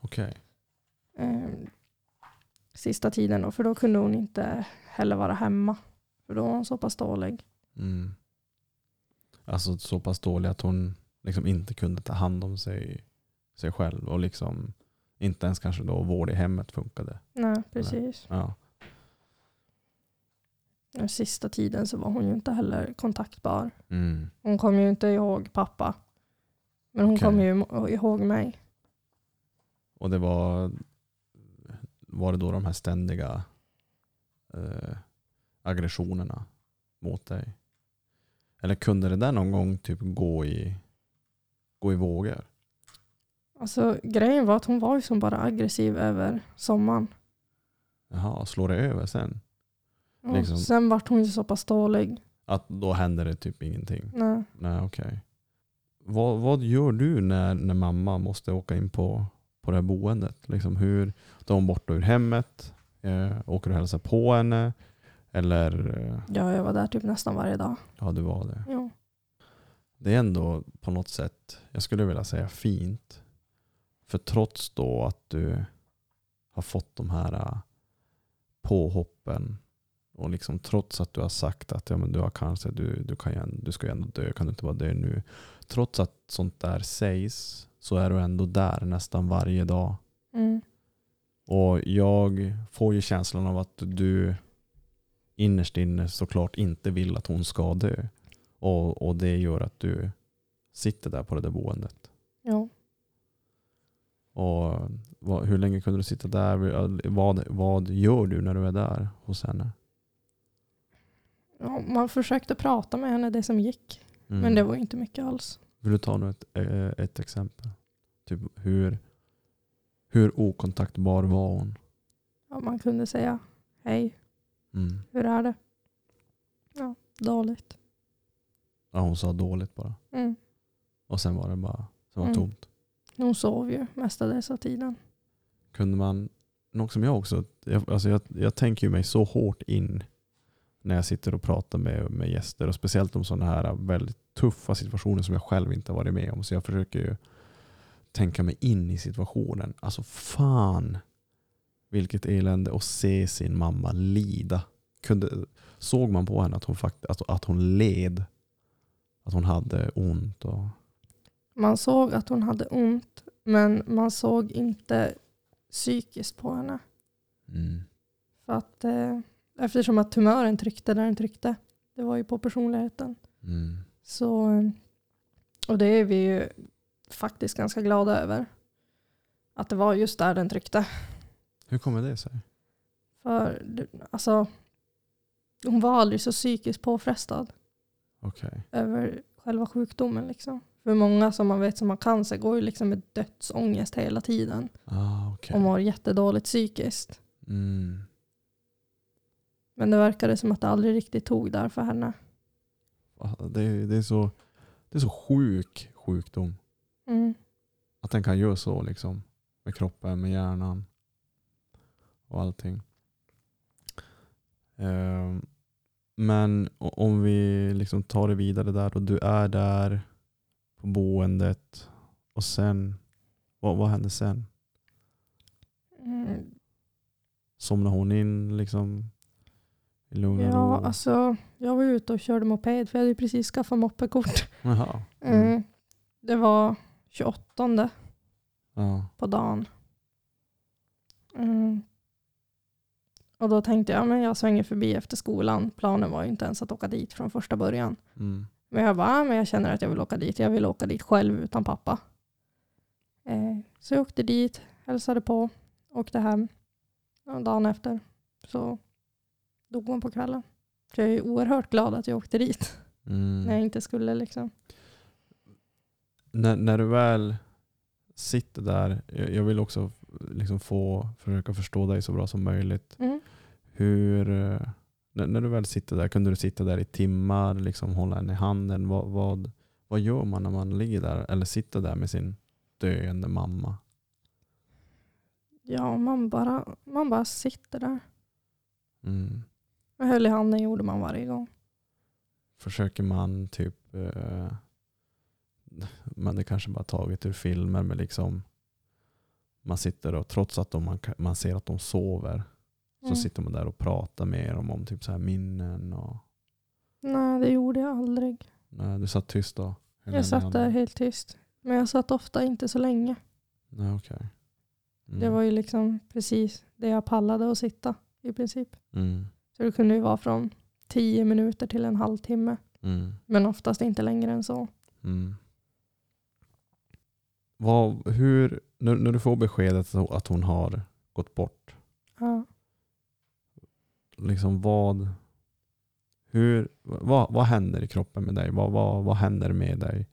A: Okej.
C: eh, sista tiden då, för då kunde hon inte heller vara hemma. För då var hon så pass dålig.
A: Mm. Alltså så pass dålig att hon liksom inte kunde ta hand om sig, sig själv och liksom inte ens kanske då vård i hemmet funkade.
C: Nej, precis.
A: Ja.
C: Och Sista tiden så var hon ju inte heller kontaktbar.
A: Mm.
C: Hon kom ju inte ihåg pappa. Men hon
A: Okej.
C: kom ju ihåg mig.
A: Och det var, var det då de här ständiga eh, aggressionerna mot dig? Eller kunde det där någon gång typ gå i, gå i vågor?
C: Alltså grejen var att hon var ju som bara aggressiv över sommaren.
A: Jaha, slår det över sen?
C: Ja,
A: Liksom-
C: Sen vart hon ju så pass dålig.
A: Att då händer det typ ingenting?
C: Nej.
A: Nej, okej. Vad, vad gör du när, när mamma måste åka in på, på det här boendet? Liksom hur, då är hon borta ur hemmet? Eh, åker du och hälsar på henne? Eller eh,
C: Ja, jag var där typ nästan varje dag.
A: ja, du var det.
C: Ja.
A: det är ändå på något sätt, jag skulle vilja säga fint. För trots då att du har fått de här äh, påhoppen och liksom trots att du har sagt att ja, men du har cancer, du, du, kan ju, änd- du ska ju ändå dö, kan du inte bara dö nu? Trots att sånt där sägs så är du ändå där nästan varje dag.
C: Mm.
A: Och jag får ju känslan av att du innerst inne såklart inte vill att hon ska dö. Och, och det gör att du sitter där på det där boendet.
C: Ja.
A: Och vad, hur länge kunde du sitta där? Vad, vad gör du när du är där hos henne?
C: ja. Man försökte prata med henne det som gick.
A: Mm.
C: Men det var ju inte mycket alls.
A: Vill du ta något, eh, ett exempel? Typ hur, hur okontaktbar var hon?
C: Ja, man kunde säga hej,
A: Mm.
C: hur är det? Ja, dåligt.
A: Ja, hon sa dåligt bara.
C: Mm.
A: Och sen var det bara det var
C: Mm.
A: tomt.
C: Hon sov ju mestadels av tiden.
A: kunde man, något som jag också, jag, alltså jag, jag tänker ju mig så hårt in när jag sitter och pratar med, med gäster och speciellt om sådana här väldigt tuffa situationer som jag själv inte har varit med om. Så jag försöker ju tänka mig in i situationen. Alltså fan vilket elände att se sin mamma alltså lida. Kunde, såg man på henne att hon, fakt, att, att hon led? Att hon hade ont och...
C: Man såg att hon hade ont, men man såg inte psykiskt på henne.
A: Mm.
C: För att, eh, eftersom att tumören tryckte där den tryckte. Det var ju på personligheten.
A: Mm.
C: Så, eh, och det är vi ju faktiskt ganska glada över. Att det var just där den tryckte.
A: Hur kommer det sig?
C: För det- alltså, hon var aldrig så psykiskt påfrestad
A: Okej.
C: över själva sjukdomen. Liksom. För många som man vet som har cancer går ju liksom med dödsångest hela tiden
A: Ah, okej.
C: och mår jättedåligt psykiskt.
A: Mm.
C: Men det verkade som att det aldrig riktigt tog där för henne.
A: Ah, Det, är- det, är så, det är så sjuk sjukdom.
C: Mm.
A: Att den kan göra så liksom. Med kroppen, med hjärnan. Och allting. Ehm, men o- om vi liksom tar det vidare där och du är där på boendet och sen, vad, vad hände sen?
C: Mm.
A: Somnar hon in liksom i lugn och
C: Ja,
A: ro?
C: alltså jag var ju ute och körde moped för jag hade ju precis skaffat moppekort.
A: Jaha.
C: Mm.
A: Mm.
C: Det var 28
A: Ja.
C: på dagen. Mm. Och då tänkte jag, men jag svänger förbi efter skolan. Planen var ju inte ens att åka dit från första början.
A: Mm.
C: Men jag bara, ah, men jag känner att jag vill åka dit. Jag vill åka dit själv utan pappa. Eh, så jag åkte dit, hälsade på, åkte hem. Och dagen efter så dog hon på kvällen. Så jag är oerhört glad att jag åkte dit
A: Mm.
C: när jag inte skulle liksom.
A: när, när du väl sitter där, jag, jag vill också liksom få försöka förstå dig så bra som möjligt.
C: Mm.
A: Hur, eh, när, när du väl sitter där, kunde du sitta där i timmar, liksom hålla henne i handen? Vad, vad, vad gör man när man ligger där eller sitter där med sin döende mamma?
C: Ja, man bara, man bara sitter där.
A: Mm.
C: Jag höll i handen gjorde man varje gång.
A: Försöker man typ, eh, men det kanske bara taget ur filmer, men liksom man sitter och trots att de, man, kan- man ser att de sover
C: Mm.
A: Så sitter man där och pratar med dem om typ så här minnen. Och,
C: Nej, det gjorde jag aldrig.
A: nej, du satt tyst då? Hur
C: Jag satt
A: länge
C: där
A: hade-
C: helt tyst. Men jag satt ofta inte så länge.
A: Nej, okej. Mm.
C: Det var ju liksom precis det jag pallade att sitta i princip.
A: Mm.
C: Så det kunde ju vara från 10 minuter till en halvtimme.
A: Mm.
C: Men oftast inte längre än så.
A: Mm. Vad, hur, när, när du får beskedet så- att hon har gått bort,
C: Ja.
A: liksom vad, hur, vad, vad händer i kroppen med dig? Vad, vad, vad händer med dig?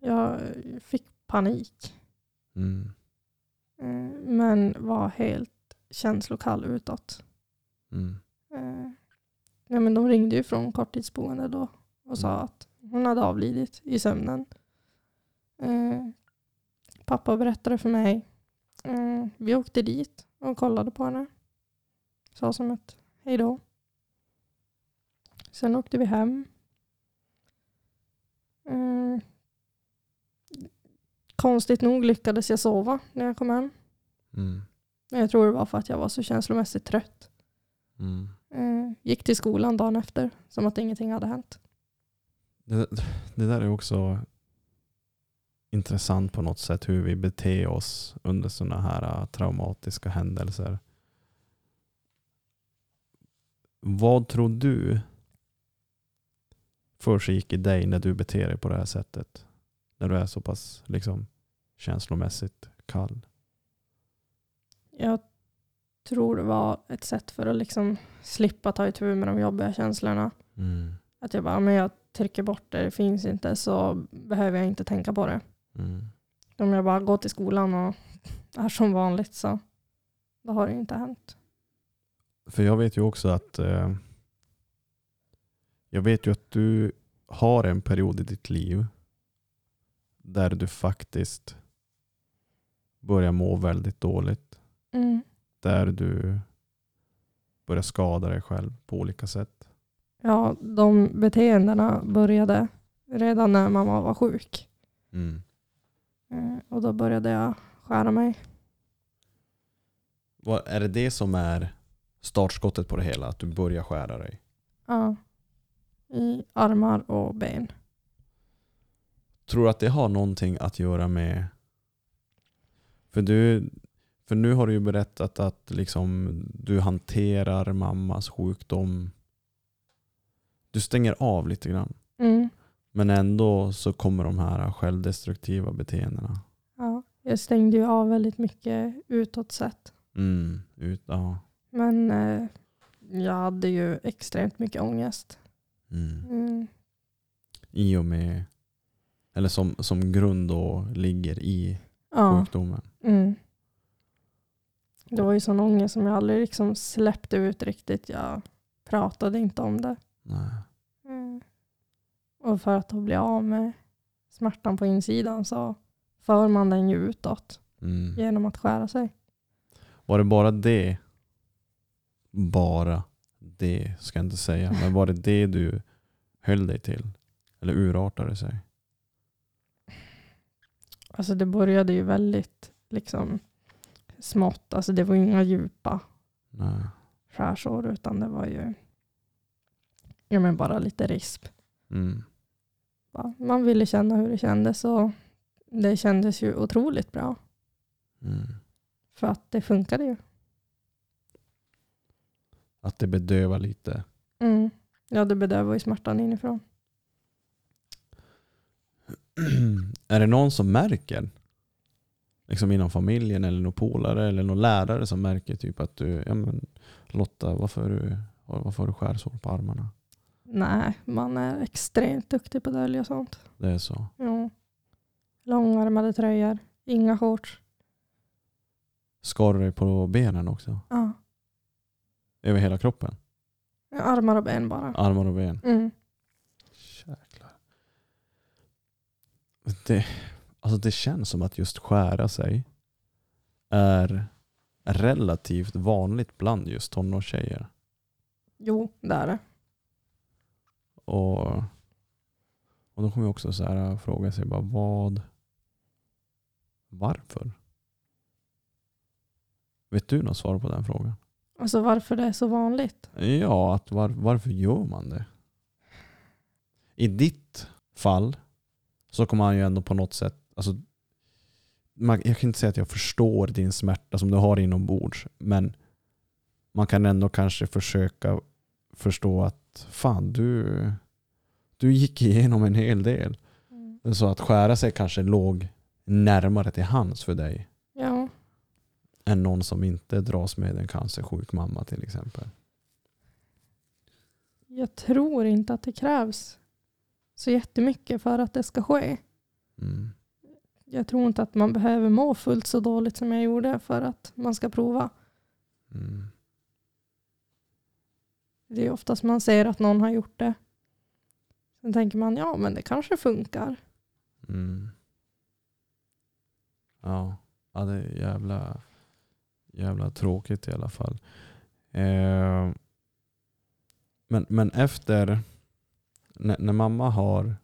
C: Jag fick panik.
A: Mm.
C: eh, Men var helt känslokall utåt.
A: Mm.
C: Eh, Ja, men de ringde ju från korttidsboende då och sa
A: Mm.
C: att hon hade avlidit i sömnen. Eh, Pappa berättade för mig. Eh, Vi åkte dit och kollade på henne. Sa som ett hej då. Sen åkte vi hem. Eh, Konstigt nog lyckades jag sova när jag kom hem.
A: Mm.
C: Men jag tror det var för att jag var så känslomässigt trött.
A: Mm.
C: Eh, gick till skolan dagen efter som att ingenting hade hänt.
A: Det, det där är också intressant på något sätt hur vi beter oss under sådana här äh, traumatiska händelser. Vad tror du försiggick i dig när du beter dig på det här sättet? När du är så pass liksom, känslomässigt kall?
C: Jag tror det var ett sätt för att liksom slippa ta itu med de jobbiga känslorna. Att jag bara, men jag trycker bort det, det finns inte så behöver jag inte tänka på det. Om jag bara går till skolan och är som vanligt så då har det ju inte hänt.
A: För jag vet ju också att eh, jag vet ju att du har en period i ditt liv där du faktiskt börjar må väldigt dåligt.
C: Mm.
A: Där du börjar skada dig själv på olika sätt.
C: Ja, de beteendena började redan när mamma var sjuk.
A: Mm.
C: Eh, Och då började jag skära mig.
A: Vad- är det det som är startskottet på det hela? Att du börjar skära dig?
C: Ja. i armar och ben.
A: Tror du att det har någonting att göra med... För, du, för nu har du ju berättat att liksom du hanterar mammas sjukdom. Du stänger av lite grann.
C: Mm.
A: Men ändå så kommer de här självdestruktiva beteendena.
C: Ja, jag stängde ju av väldigt mycket utåt sett.
A: Mm, ut, ja.
C: Men eh, jag hade ju extremt mycket ångest.
A: mm.
C: Mm.
A: I och med... Eller som, som grund då ligger i
C: Ja.
A: sjukdomen.
C: Mm. Det var ju sån ångest som jag aldrig liksom släppte ut riktigt. Jag pratade inte om det.
A: Nej.
C: Och för att då bli av med smärtan på insidan så för man den ju utåt
A: Mm.
C: genom att skära sig.
A: Var det bara det? Bara det ska jag inte säga. Men var det det du höll dig till? Eller urartade sig?
C: Alltså det började ju väldigt liksom smått. Alltså det var ju inga djupa
A: Nej.
C: skärsår utan det var ju ja men bara lite risp.
A: Mm.
C: Va? Man ville känna hur det kändes och det kändes ju otroligt bra
A: Mm.
C: för att det funkade ju.
A: Att det bedövar lite.
C: Mm. Ja, det bedövar ju smärtan inifrån.
A: är det någon som märker? Liksom inom familjen eller någon polare eller någon lärare som märker typ att du, ja men Lotta varför, har du, varför har du skärsår på armarna?
C: Nej, man är extremt duktig på att dölja sånt.
A: Det är så.
C: Ja. Långärmade tröjor, inga shorts.
A: Skar du dig på benen också?
C: Ja.
A: Över hela kroppen?
C: Armar och ben bara.
A: Armar och ben?
C: Mm.
A: Jäklar. Det, alltså det känns som att just skära sig är relativt vanligt bland just tonårstjejer.
C: Jo, det är det.
A: Och, och då kommer jag också så här fråga sig bara vad, varför? Vet du något svar på den frågan?
C: Alltså varför det är så vanligt?
A: Ja, att var, varför gör man det? I ditt fall så kommer han ju ändå på något sätt, alltså, man, jag kan inte säga att jag förstår din smärta som du har inombords, men man kan ändå kanske försöka förstå att fan, du, du gick igenom en hel del. Så att skära sig kanske låg närmare till hands för dig
C: Ja.
A: än någon som inte dras med en cancersjuk mamma till exempel.
C: Jag tror inte att det krävs så jättemycket för att det ska ske.
A: Mm.
C: Jag tror inte att man behöver må fullt så dåligt som jag gjorde för att man ska prova.
A: Mm.
C: Det är oftast man ser att någon har gjort det. Sen tänker man, ja men det kanske funkar.
A: Mm. Ja. ja, det är jävla, jävla tråkigt i alla fall. Eh, men, men efter, när, när mamma har,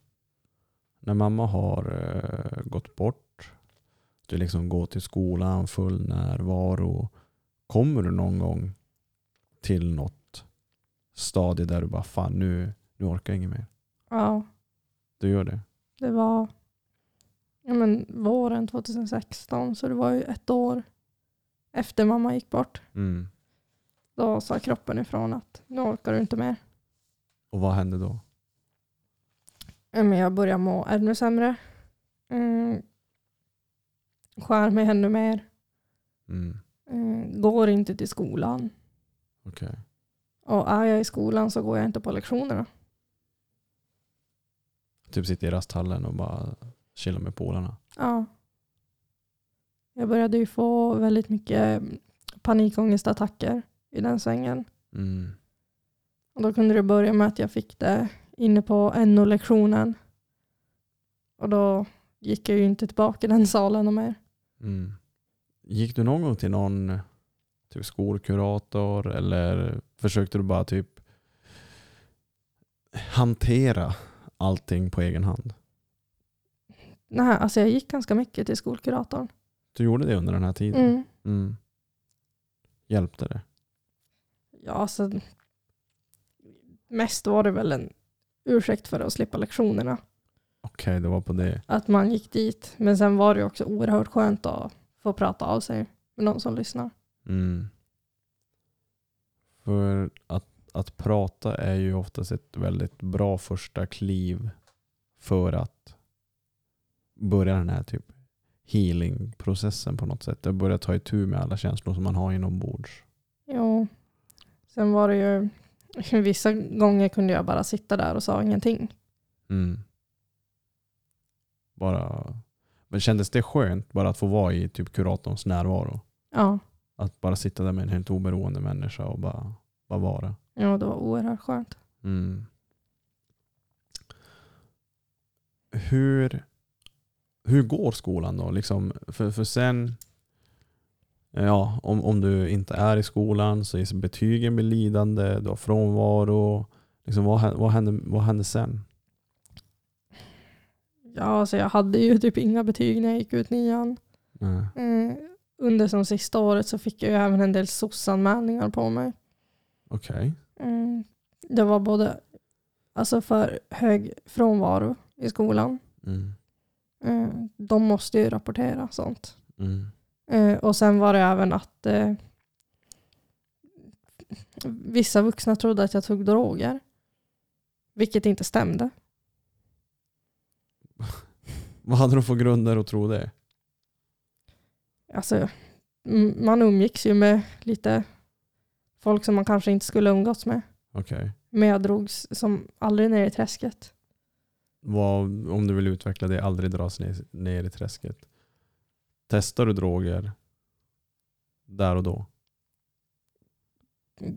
A: när mamma har eh, gått bort, du liksom går till skolan, full närvaro. Kommer du någon gång till något stadie där du bara fan nu, nu orkar jag inget mer?
C: Ja,
A: Du gör det?
C: det var ja, men, våren 2016 så det var ju ett år efter mamma gick bort.
A: Mm.
C: Då sa kroppen ifrån att nu orkar du inte mer.
A: Och vad hände då?
C: Ja, Men jag börjar må ännu sämre. Mm. Skär mig ännu mer.
A: Mm.
C: Mm. Går inte till skolan.
A: Okej.
C: Och är jag i skolan så går jag inte på lektionerna.
A: Typ sitter i rasthallen och bara chillar med polarna.
C: Ja. Jag började ju få väldigt mycket panikångestattacker i den svängen.
A: Mm.
C: Och då kunde det börja med att jag fick det inne på NO-lektionen. Och då gick jag ju inte tillbaka i den salen och mer.
A: Mm. Gick du någon gång till någon typ skolkurator eller försökte du bara typ hantera allting på egen hand?
C: Nej, alltså jag gick ganska mycket till skolkuratorn.
A: Du gjorde det under den här tiden?
C: Mm.
A: Mm. Hjälpte det?
C: Ja, alltså, mest var det väl en ursäkt för att slippa lektionerna.
A: Okej, det var på det.
C: Att man gick dit. Men sen var det ju också oerhört skönt att få prata av sig med någon som lyssnar.
A: Mm. För att, att prata är ju oftast ett väldigt bra första kliv för att börja den här typ healingprocessen på något sätt. Att börja ta itu med alla känslor som man har inombords.
C: Jo. Sen var det ju, vissa gånger kunde jag bara sitta där och sa ingenting.
A: Mm. Bara... Men kändes det skönt bara att få vara i typ kuratorns närvaro?
C: Ja,
A: Att bara sitta där med en helt oberoende människa och bara, bara vara.
C: ja det var oerhört skönt.
A: Mm. Hur, hur går skolan då? Liksom, för, för sen, ja, om, om du inte är i skolan så är betygen blir lidande, du har frånvaro. Liksom, vad, hä- vad, händer, vad händer sen?
C: Ja, alltså jag hade ju typ inga betyg när jag gick ut nian.
A: Nej.
C: Eh, under som sista året så fick jag ju även en del SOS-anmälningar på mig.
A: Okej.
C: Mm. Det var både alltså för hög frånvaro i skolan.
A: Mm.
C: Eh, de måste ju rapportera sånt.
A: Mm.
C: Eh, och sen var det även att eh, vissa vuxna trodde att jag tog droger. Vilket inte stämde.
A: Vad hade de för grunder att tro det?
C: Alltså, m- man umgicks ju med lite folk som man kanske inte skulle umgås med.
A: Okej.
C: Men jag drogs som aldrig ner i träsket.
A: Vad, om du vill utveckla det, aldrig dras ner, ner i träsket. Testar du droger där och då?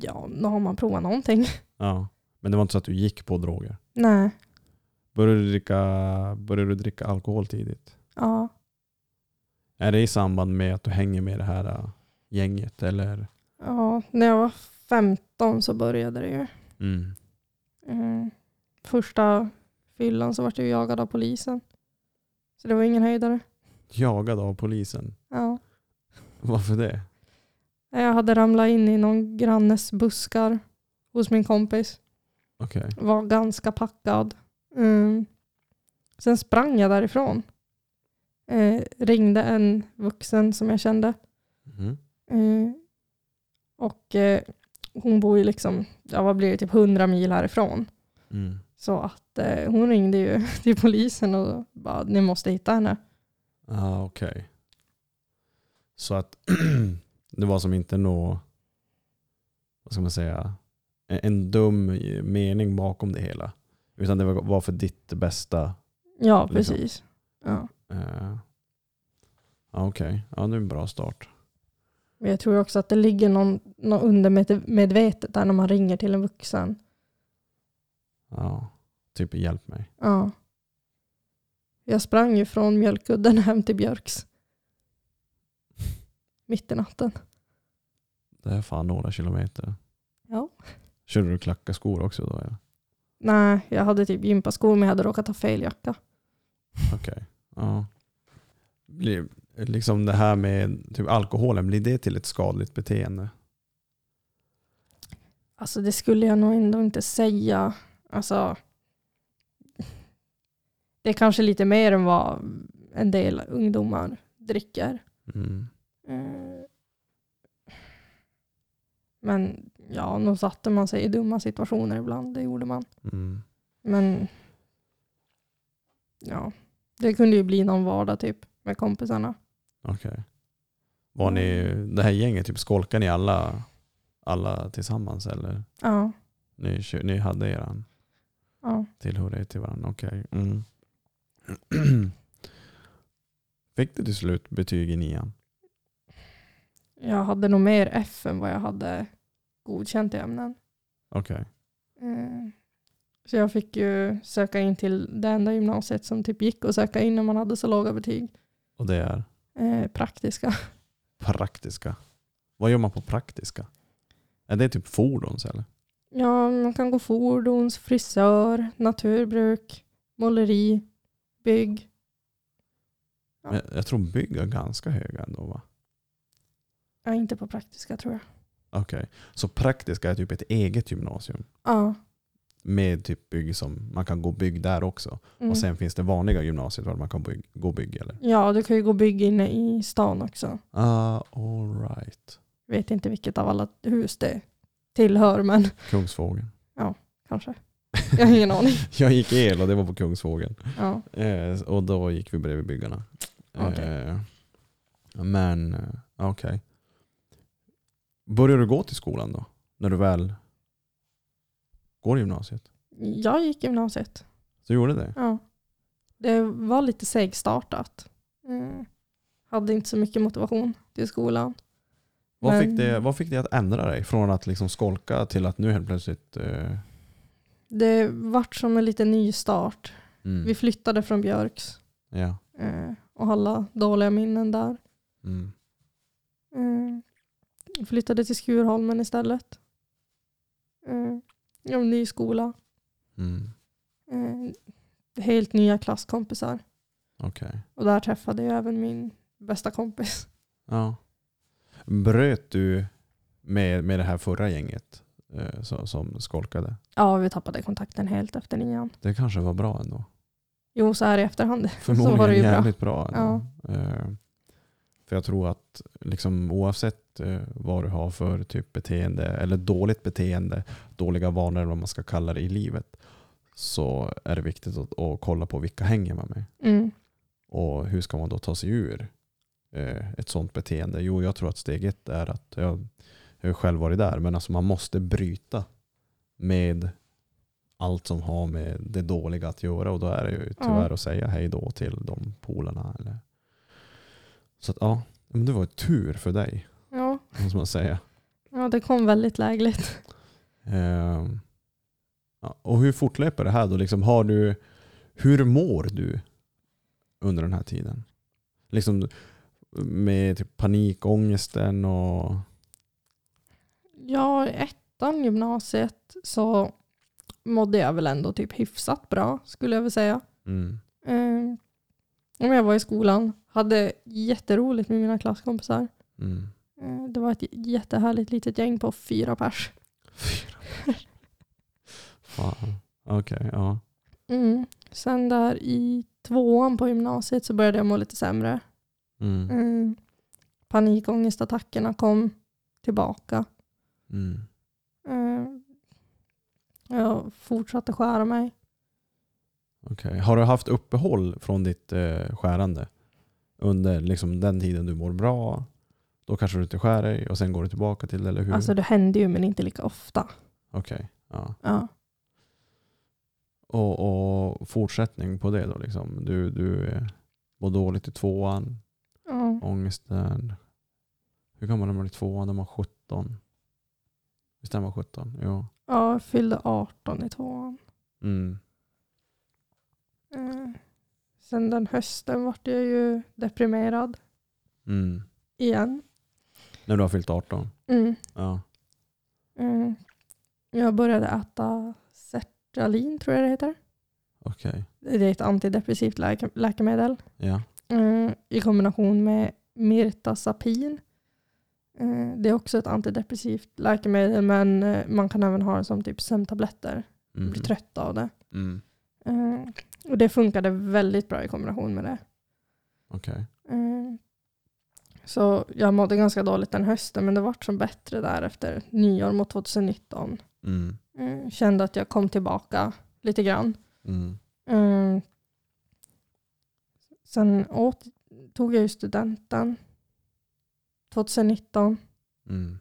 C: Ja, nu har man provat någonting.
A: Ja. Men det var inte så att du gick på droger?
C: Nej,
A: Började du dricka, började du dricka alkohol tidigt?
C: ja.
A: Är det i samband med att du hänger med det här äh, gänget? Eller?
C: ja. När jag var 15 så började det ju.
A: Mm.
C: Mm. Första fyllan så vart jag jagad av polisen. Så det var ingen höjdare.
A: Jagad av polisen?
C: Ja.
A: Varför det?
C: Jag hade ramlat in i någon grannes buskar hos min kompis.
A: Okej.
C: Var ganska packad. Mm. Sen sprang jag därifrån. Eh, ringde en vuxen som jag kände.
A: Mm.
C: Eh, och eh, hon bor ju liksom, ja vad blir det, typ 100 mil härifrån.
A: Mm.
C: Så att eh, hon ringde ju till polisen och bara, ni måste hitta henne.
A: Ah, Okej. Så att det var som inte nå, vad ska man säga, en, en dum eh, mening bakom det hela. Utan det var- var för ditt bästa.
C: Ja,
A: Liksom.
C: precis. Ja.
A: eh, ja, Okej, ja, det är en bra start.
C: Men jag tror också att det ligger någon, någon undermedvetet där när man ringer till en vuxen.
A: Ja, typ hjälp mig.
C: Ja. Jag sprang ju från mjölkudden hem till Björks. Mitt i natten.
A: Det är fan några kilometer.
C: Ja.
A: Körde du klackaskor också då? eller?
C: Nej, jag hade typ gympaskor men jag hade råkat ha fel jacka.
A: Okej. Ja. Blir, liksom det här med typ alkoholen, blir det till ett skadligt beteende?
C: Alltså det skulle jag nog ändå inte säga. Alltså, det är kanske lite mer än vad en del ungdomar dricker.
A: Mm.
C: Eh, Men ja, nog satte man sig i dumma situationer ibland. Det gjorde man.
A: Mm.
C: Men ja, det kunde ju bli någon vardag typ med kompisarna.
A: Okej. Var ni, det här gänget, typ skolkar ni alla, alla tillsammans eller?
C: Ja,
A: Ni, kö- ni hade eran
C: ja.
A: tillhörighet till varandra? Okej. Mm. Fick du till slut betyg i nian?
C: Jag hade nog mer F än vad jag hade godkänt i ämnen.
A: Okej.
C: Eh, Så jag fick ju söka in till det enda gymnasiet som typ gick att söka in när man hade så låga betyg.
A: Och det är
C: Eh, praktiska.
A: praktiska. Vad gör man på praktiska? Är det typ fordons eller?
C: Ja, man kan gå fordons, frisör, naturbruk, måleri, bygg. Ja.
A: Men jag tror bygg är ganska höga ändå va?
C: Ja, inte på praktiska tror jag.
A: Okej. Så praktiska är typ ett eget gymnasium?
C: Ja,
A: med typ bygg som man kan gå bygg där också.
C: Mm.
A: Och sen finns det vanliga gymnasiet var man kan bygg, gå bygg eller?
C: Ja, du kan ju gå och bygga inne i stan också.
A: Ah, all right.
C: Vet inte vilket av alla hus det tillhör, men
A: Kungsvågen.
C: kanske. Jag har ingen aning.
A: Jag gick el och det var på Kungsvågen.
C: Ja.
A: Eh, och då gick vi bredvid byggarna.
C: Okej.
A: Eh, men eh, okej. Började du gå till skolan då? När du väl går i gymnasiet?
C: Jag gick gymnasiet.
A: Så du gjorde det?
C: Ja. Det var lite segstartat. Mm. Hade inte så mycket motivation till skolan.
A: Vad
C: Men-
A: fick, det, vad fick det att ändra dig? Från att liksom skolka till att nu helt plötsligt... Eh,
C: Det vart som en liten ny start.
A: mm,
C: Vi flyttade från Björks
A: ja,
C: eh, och alla dåliga minnen där.
A: mm,
C: Mm. Flyttade till Skurholmen istället. Mm. Ja, ny skola.
A: mm,
C: Eh, helt nya klasskompisar.
A: Okej.
C: Och där träffade jag även min bästa kompis.
A: Ja. Bröt du med, med det här förra gänget eh, som, som skolkade?
C: Ja, vi tappade kontakten helt efter nian.
A: Det kanske var bra ändå?
C: Jo, så här i efterhand.
A: Förmodligen
C: Så var det ju bra.
A: jävligt bra. ändå. Eh, för jag tror att liksom, oavsett eh, vad du har för typ beteende eller dåligt beteende, dåliga vanor eller vad man ska kalla det i livet, så är det viktigt att, att kolla på vilka hänger man med.
C: Mm.
A: Och hur ska man då ta sig ur eh, ett sånt beteende? Jo, jag tror att steg ett är att, jag, jag har själv varit där, men alltså man måste bryta med allt som har med det dåliga att göra och då är det ju tyvärr att säga hej då till de polarna. Eller. Så att, ja, men det var ju tur för dig,
C: Ja.
A: måste man säga.
C: ja, det kom väldigt lägligt.
A: Ehm, ja, och hur fortlöper det här då? Liksom, har du, hur mår du under den här tiden? Liksom med typ panikångesten och...
C: Ja, i ettan gymnasiet så mådde jag väl ändå typ hyfsat bra skulle jag väl säga.
A: Mm,
C: Eh, om jag var i skolan, hade jätteroligt med mina klasskompisar.
A: mm.
C: Eh, det var ett jättehärligt litet gäng på fyra pers.
A: Fyra. Fan. Okej, ja.
C: Mm. Sen där i tvåan på gymnasiet så började jag må lite sämre.
A: Mm,
C: Mm. Panikångestattackerna kom tillbaka.
A: mm,
C: Eh, jag fortsatte skära mig.
A: okej. Har du haft uppehåll från ditt eh, skärande under liksom, den tiden du mår bra? Då kanske du inte skär dig och sen går du tillbaka till det, eller hur?
C: Alltså det hände ju men inte lika ofta.
A: Okej, ja.
C: Ja.
A: Och, och fortsättning på det då liksom. Du, du eh, mår dåligt i tvåan,
C: Ja.
A: ångesten. Hur gammal är man i tvåan? När man är 17? Visst är man 17? Jo.
C: ja, jag fyllde 18 i tvåan.
A: Mm.
C: Eh, sen den hösten vart jag ju deprimerad
A: Mm.
C: igen.
A: När du har fyllt 18?
C: Mm.
A: Ja.
C: Mm. Jag började äta sertralin tror jag det heter.
A: Okej.
C: Det är ett antidepressivt läke- läkemedel.
A: Ja.
C: eh, i kombination med mirtazapin. Eh, det är också ett antidepressivt läkemedel men eh, man kan även ha det som typ sömntabletter.
A: Mm.
C: Blir trött av det.
A: Mm.
C: Eh, och det funkade väldigt bra i kombination med det.
A: Okej.
C: Eh, så jag mådde ganska dåligt den hösten men det vart som bättre där efter nyår mot 2019.
A: Mm.
C: Eh, kände att jag kom tillbaka lite grann.
A: Mm.
C: Eh, sen åt, tog jag ju studenten 2019.
A: Mm.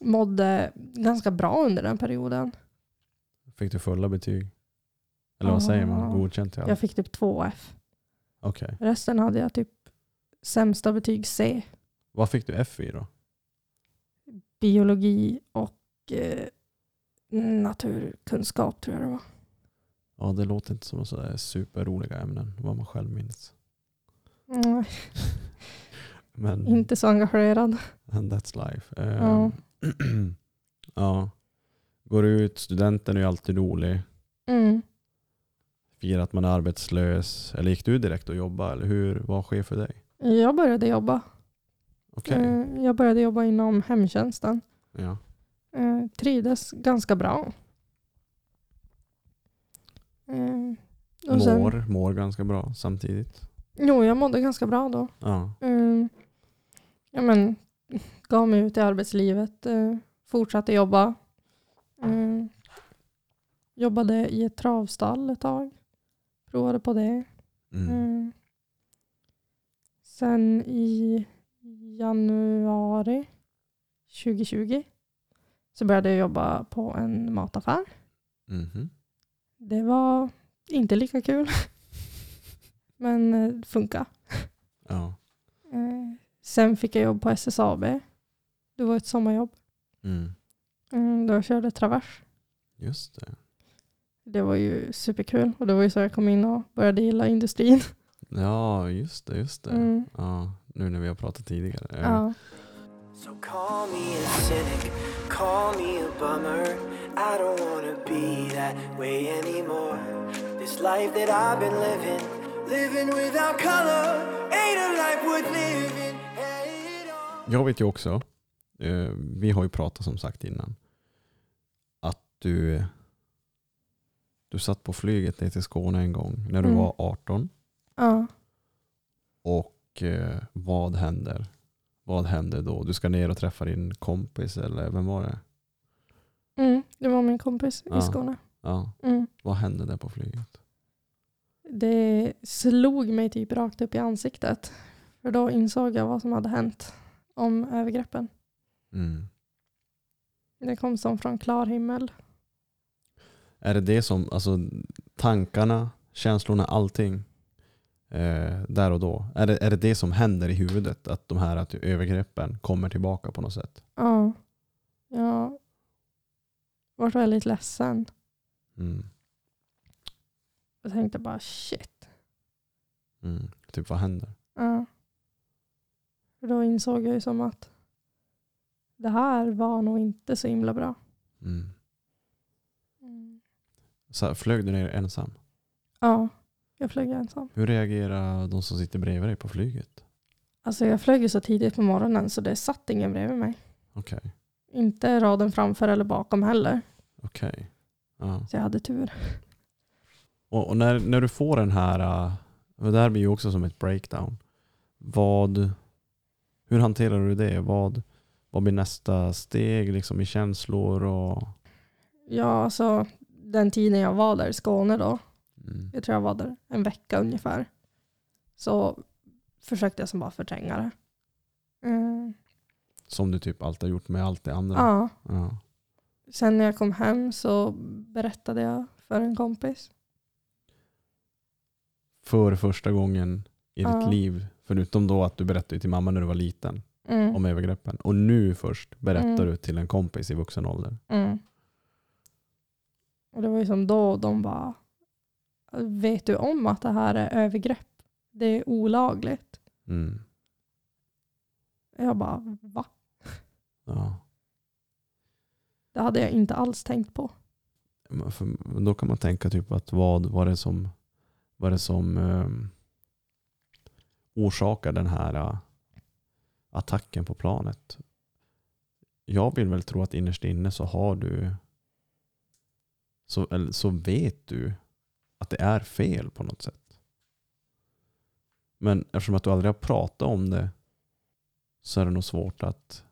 C: Mådde ganska bra under den perioden.
A: Fick du fulla betyg? Eller vad säger man?
C: Ah.
A: Godkänt i allt?
C: Jag fick typ 2F.
A: Okej.
C: Resten hade jag typ sämsta betyg C.
A: Vad fick du F i då?
C: Biologi och eh, naturkunskap tror jag det var.
A: Ja, det låter inte som sådär superroliga ämnen, vad man själv minns.
C: Mm,
A: Men...
C: inte så engagerad.
A: And that's life.
C: Ja.
A: Ehm, ja. Går ut, studenten är ju alltid rolig.
C: Mm.
A: Firar att man är arbetslös. Eller gick du direkt och jobbade? Eller hur? Vad sker för dig?
C: Jag började jobba.
A: Okej.
C: Eh, jag började jobba inom hemtjänsten.
A: Ja.
C: Eh, trivdes ganska bra. Eh, och sen,
A: Mår, mår ganska bra samtidigt.
C: jo, jag mådde ganska bra då.
A: Ja.
C: Eh, ja, men, gav mig ut i arbetslivet, eh, fortsatte jobba. Eh, jobbade i ett travstall ett tag. Provade på det.
A: Mm.
C: Mm. Sen i januari 2020 så började jag jobba på en mataffär.
A: Mhm.
C: Det var inte lika kul, men eh, det funkar.
A: Ja.
C: Eh, Sen fick jag jobb på SSAB. Det var ett sommarjobb.
A: Mm.
C: Mm, Då jag körde travers.
A: Just det.
C: Det var ju superkul och det var ju så jag kom in och började gilla industrin.
A: Ja, just det, just det.
C: Mm.
A: Ja, nu när vi har pratat tidigare.
C: Ja.
D: So call me a cynic, call me a bummer. I don't wanna be that way anymore. This life that I've been living, living without color, ain't a life worth living. at all.
A: Jag vet ju också, eh, vi har ju pratat som sagt innan, att du, du satt på flyget ner till Skåne en gång när du
C: Mm.
A: var 18
C: ja.
A: och eh, vad händer? Vad händer då? Du ska ner och träffa din kompis eller vem var det?
C: Mm, det var min kompis
A: Ja.
C: i Skåne.
A: Ja,
C: Mm.
A: vad hände där på flyget?
C: Det slog mig typ rakt upp i ansiktet. För då insåg jag vad som hade hänt om övergreppen.
A: Mm.
C: Det kom som från klar himmel.
A: Är det det som, alltså tankarna, känslorna, allting eh, där och då. Är det, är det det som händer i huvudet? Att de här att övergreppen kommer tillbaka på något sätt?
C: Ja. Jag var väldigt ledsen.
A: Mm.
C: Jag tänkte bara shit.
A: Mm. Typ vad händer?
C: Ja. För då insåg jag ju som att det här var nog inte så himla bra.
A: Mm. Så här, flög du ner ensam?
C: Ja, jag flög ensam.
A: Hur reagerar de som sitter bredvid dig på flyget?
C: Alltså jag flög ju så tidigt på morgonen så det satt ingen bredvid mig.
A: Okej,
C: Inte raden framför eller bakom heller.
A: okej. Ja.
C: Så jag hade tur.
A: Och, och när, när du får den här, eh, det här blir ju också som ett breakdown. Vad, hur hanterar du det? Vad, vad blir nästa steg liksom, i känslor? Och,
C: Ja, alltså den tiden jag var där i Skåne då,
A: mm.
C: jag tror jag var där en vecka ungefär, så försökte jag som bara förtränga det. Mm.
A: Som du typ alltid har gjort med allt det andra.
C: Ja,
A: Ja.
C: sen när jag kom hem så berättade jag för en kompis.
A: För första gången i
C: Ja.
A: ditt liv, förutom då att du berättade till mamma när du var liten
C: Mm.
A: om övergreppen. Och nu först berättar
C: Mm.
A: du till en kompis i vuxen ålder.
C: Mm. Och det var ju som då de bara, vet du om att det här är övergrepp? Det är olagligt.
A: Mm.
C: Jag bara, va?
A: Ja.
C: Det hade jag inte alls tänkt på.
A: Men För då kan man tänka typ att vad var det som, var det som um, orsakar den här eh, attacken på planet? Jag vill väl tro att innerst inne så har du så, eller, så vet du att det är fel på något sätt. Men eftersom att du aldrig har pratat om det så är det nog svårt att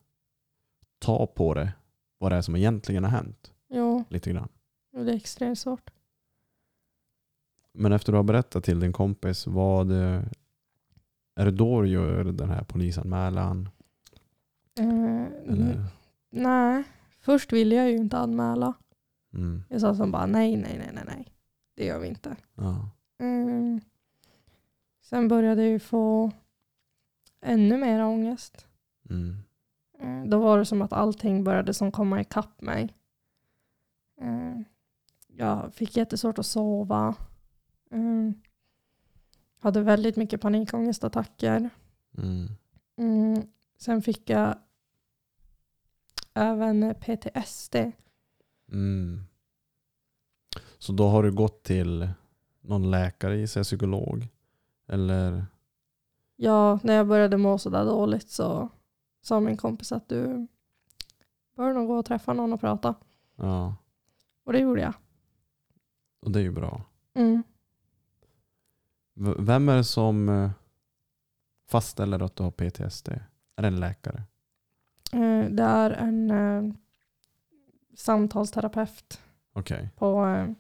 A: ta på det vad det är som egentligen har hänt
C: Jo,
A: lite grann.
C: det är extremt svårt.
A: Men efter du har berättat till din kompis, vad eh, är det då du gör den här polisanmälan?
C: Eh,
A: Eller?
C: Nej, först ville jag ju inte anmäla.
A: Mm.
C: Jag sa som bara nej, nej, nej, nej, nej. Det gör vi inte.
A: Ja.
C: Mm. Sen började jag ju få ännu mer ångest.
A: Mm.
C: Mm, Då var det som att allting började som komma ikapp mig. Mm. Jag fick jättesvårt att sova. Mm. Hade väldigt mycket panikångestattacker.
A: Mm.
C: Mm. Sen fick jag även PTSD.
A: Mm. Så då har du gått till någon läkare, gissar jag, psykolog? Eller?
C: Ja, när jag började må sådär dåligt så sa min kompis att du bör nog gå och träffa någon och prata.
A: Ja,
C: Och det gjorde jag.
A: och det är ju bra.
C: Mm.
A: V- Vem är det som eh, fastställer att du har PTSD? Är det en läkare?
C: Eh, Det är en eh, samtalsterapeut
A: Okej.
C: på eh,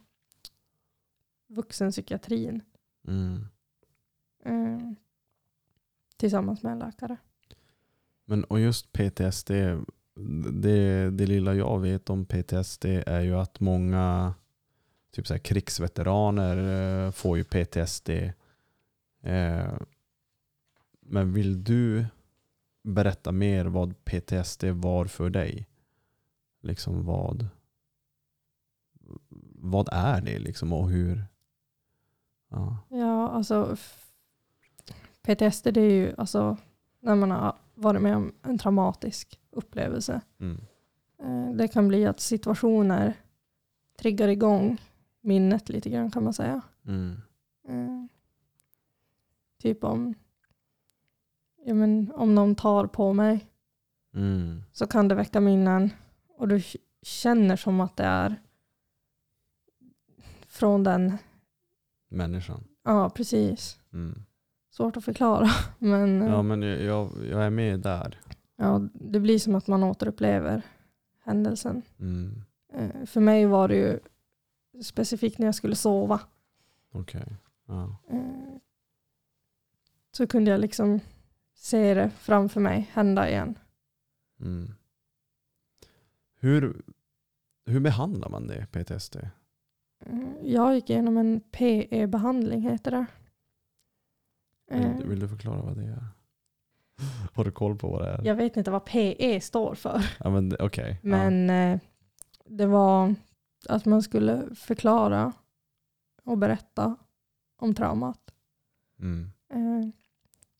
C: vuxenpsykiatrin
A: Mm.
C: eh, tillsammans med en läkare.
A: Men och just PTSD, det, det lilla jag vet om PTSD är ju att många typ så här, krigsveteraner eh, får ju PTSD. Eh, men vill du berätta mer vad PTSD var för dig? Liksom vad vad är det liksom och hur? Ja.
C: Ja, alltså f- PTSD det är ju alltså när man har varit med om en traumatisk upplevelse.
A: Mm.
C: Eh, Det kan bli att situationer triggar igång minnet lite grann kan man säga.
A: Mm.
C: Eh, Typ om, ja men, om någon tar på mig
A: Mm.
C: så kan det väcka minnen och du k- känner som att det är från den,
A: Människan.
C: ja precis.
A: Mm.
C: Svårt att förklara men eh,
A: Ja men jag, jag- jag är med där.
C: ja, det blir som att man återupplever händelsen.
A: Mm.
C: Eh, För mig var det ju specifikt när jag skulle sova
A: Okej. Ja.
C: eh, så kunde jag liksom se det framför mig hända igen.
A: Mm. Hur, hur behandlar man det, PTSD?
C: Eh, Jag gick igenom en PE-behandling heter det. Eh,
A: Vill, vill du förklara vad det är? Har du koll på vad det är?
C: Jag vet inte vad PE står för.
A: Ja, men det- Okej. Ja.
C: Men eh, det var att man skulle förklara och berätta om traumat.
A: Mm.
C: Eh,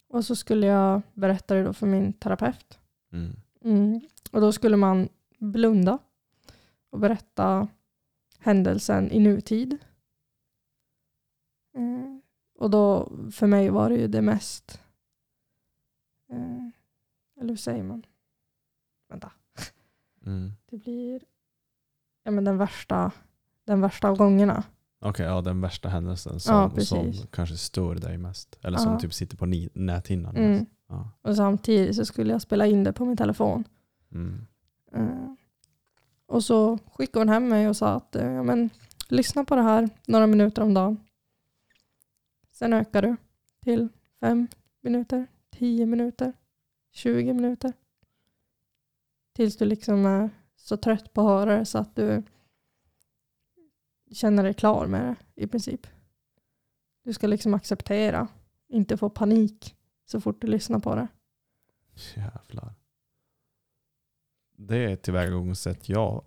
C: och så skulle jag berätta det då för min terapeut.
A: Mm.
C: Mm. Och då skulle man blunda och berätta händelsen i nutid. Eh, och då för mig var det ju det mest, eh, eller hur säger man? Vänta.
A: Mm.
C: Det blir ja, men den, värsta, den värsta av gångerna.
A: Okej, ja, den värsta händelsen som,
C: Ja, precis.
A: som kanske stör dig mest. Eller som
C: Ja.
A: typ sitter på ni- näthinnan
C: Mm.
A: mest. Ja.
C: Och samtidigt så skulle jag spela in det på min telefon.
A: Mm.
C: Eh, och så skickade hon hem mig och sa att eh, ja, men, lyssna på det här några minuter om dagen. Sen ökar du till fem minuter, tio minuter, 20 minuter. Tills du liksom är så trött på att höra det så att du känner dig klar med det i princip. Du ska liksom acceptera, inte få panik så fort du lyssnar på det.
A: Jävlar. Det är tillvägagångssätt jag...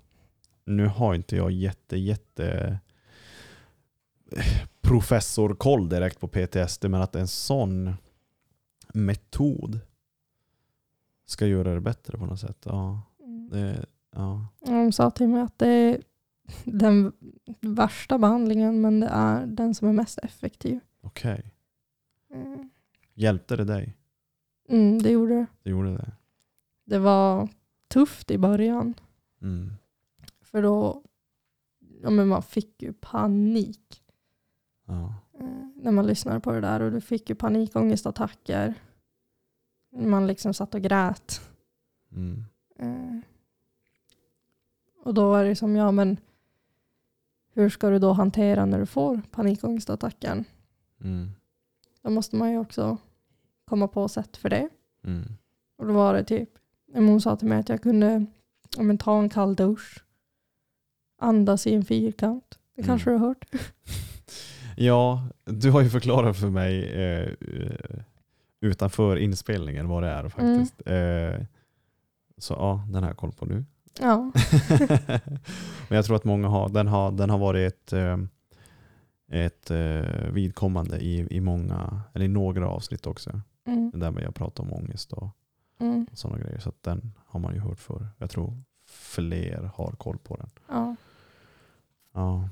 A: Nu har inte jag jätte, jätte eh, professorkoll direkt på PTSD, men att en sån metod ska göra det bättre på något sätt. Ja, det, ja.
C: De sa till mig att det är den värsta behandlingen men det är den som är mest effektiv.
A: okej. Hjälpte det dig?
C: Mm, det gjorde det.
A: Det gjorde det?
C: Det var tufft i början
A: Mm.
C: för då ja, men man fick ju panik
A: Ja.
C: eh, när man lyssnade på det där och du fick ju panikångestattacker. Man liksom satt och grät.
A: Mm.
C: Eh, Och då är det som, ja men hur ska du då hantera när du får panikångestattacken?
A: Mm.
C: Då måste man ju också komma på sätt för det.
A: Mm.
C: Och då var det typ, men hon sa till mig att jag kunde ja, men, ta en kall dusch, andas i en fyrkant. Det
A: Mm.
C: kanske du har hört?
A: Ja, du har ju förklarat för mig eh, eh, utanför inspelningen vad det är faktiskt. Eh, så ja, den har jag koll på nu.
C: Ja.
A: Men jag tror att många har, den har, den har varit ett, eh, ett eh, vidkommande i, i många, eller i några avsnitt också.
C: Mm,
A: Det där med jag pratar om ångest och
C: mm,
A: sådana grejer. Så att den har man ju hört för. Jag tror fler har koll på den.
C: ja.
A: Ja.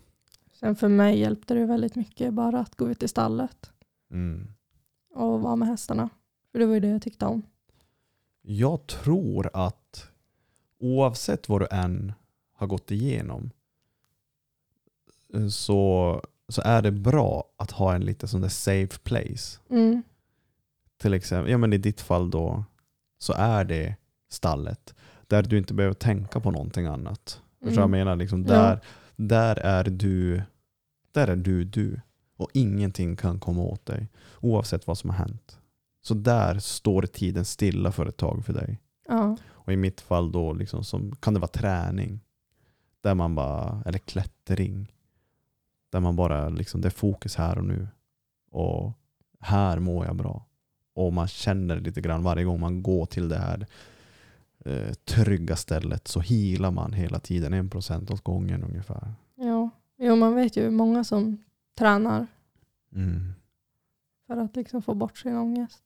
C: Sen för mig hjälpte det väldigt mycket bara att gå ut i stallet
A: Mm.
C: och vara med hästarna. För det var ju det jag tyckte om.
A: Jag tror att oavsett vad du än har gått igenom eh, så så är det bra att ha en liten sån där safe place.
C: Mm.
A: Till exempel, ja men i ditt fall då, så är det stallet. Där du inte behöver tänka på någonting annat. Förstår du vad jag menar? Liksom
C: Mm. Ja.
A: där, där är du där är du du. Och ingenting kan komma åt dig. Oavsett vad som har hänt. Så där står tiden stilla för ett tag för dig.
C: Ja.
A: Och i mitt fall då liksom som, kan det vara träning. Där man bara, eller klättring. Där man bara, liksom, det är fokus här och nu. Och här mår jag bra. Och man känner lite grann varje gång man går till det här eh, trygga stället så healar man hela tiden, en procent åt gången ungefär.
C: ja. Jo, man vet ju många som tränar
A: Mm.
C: för att liksom få bort sin ångest.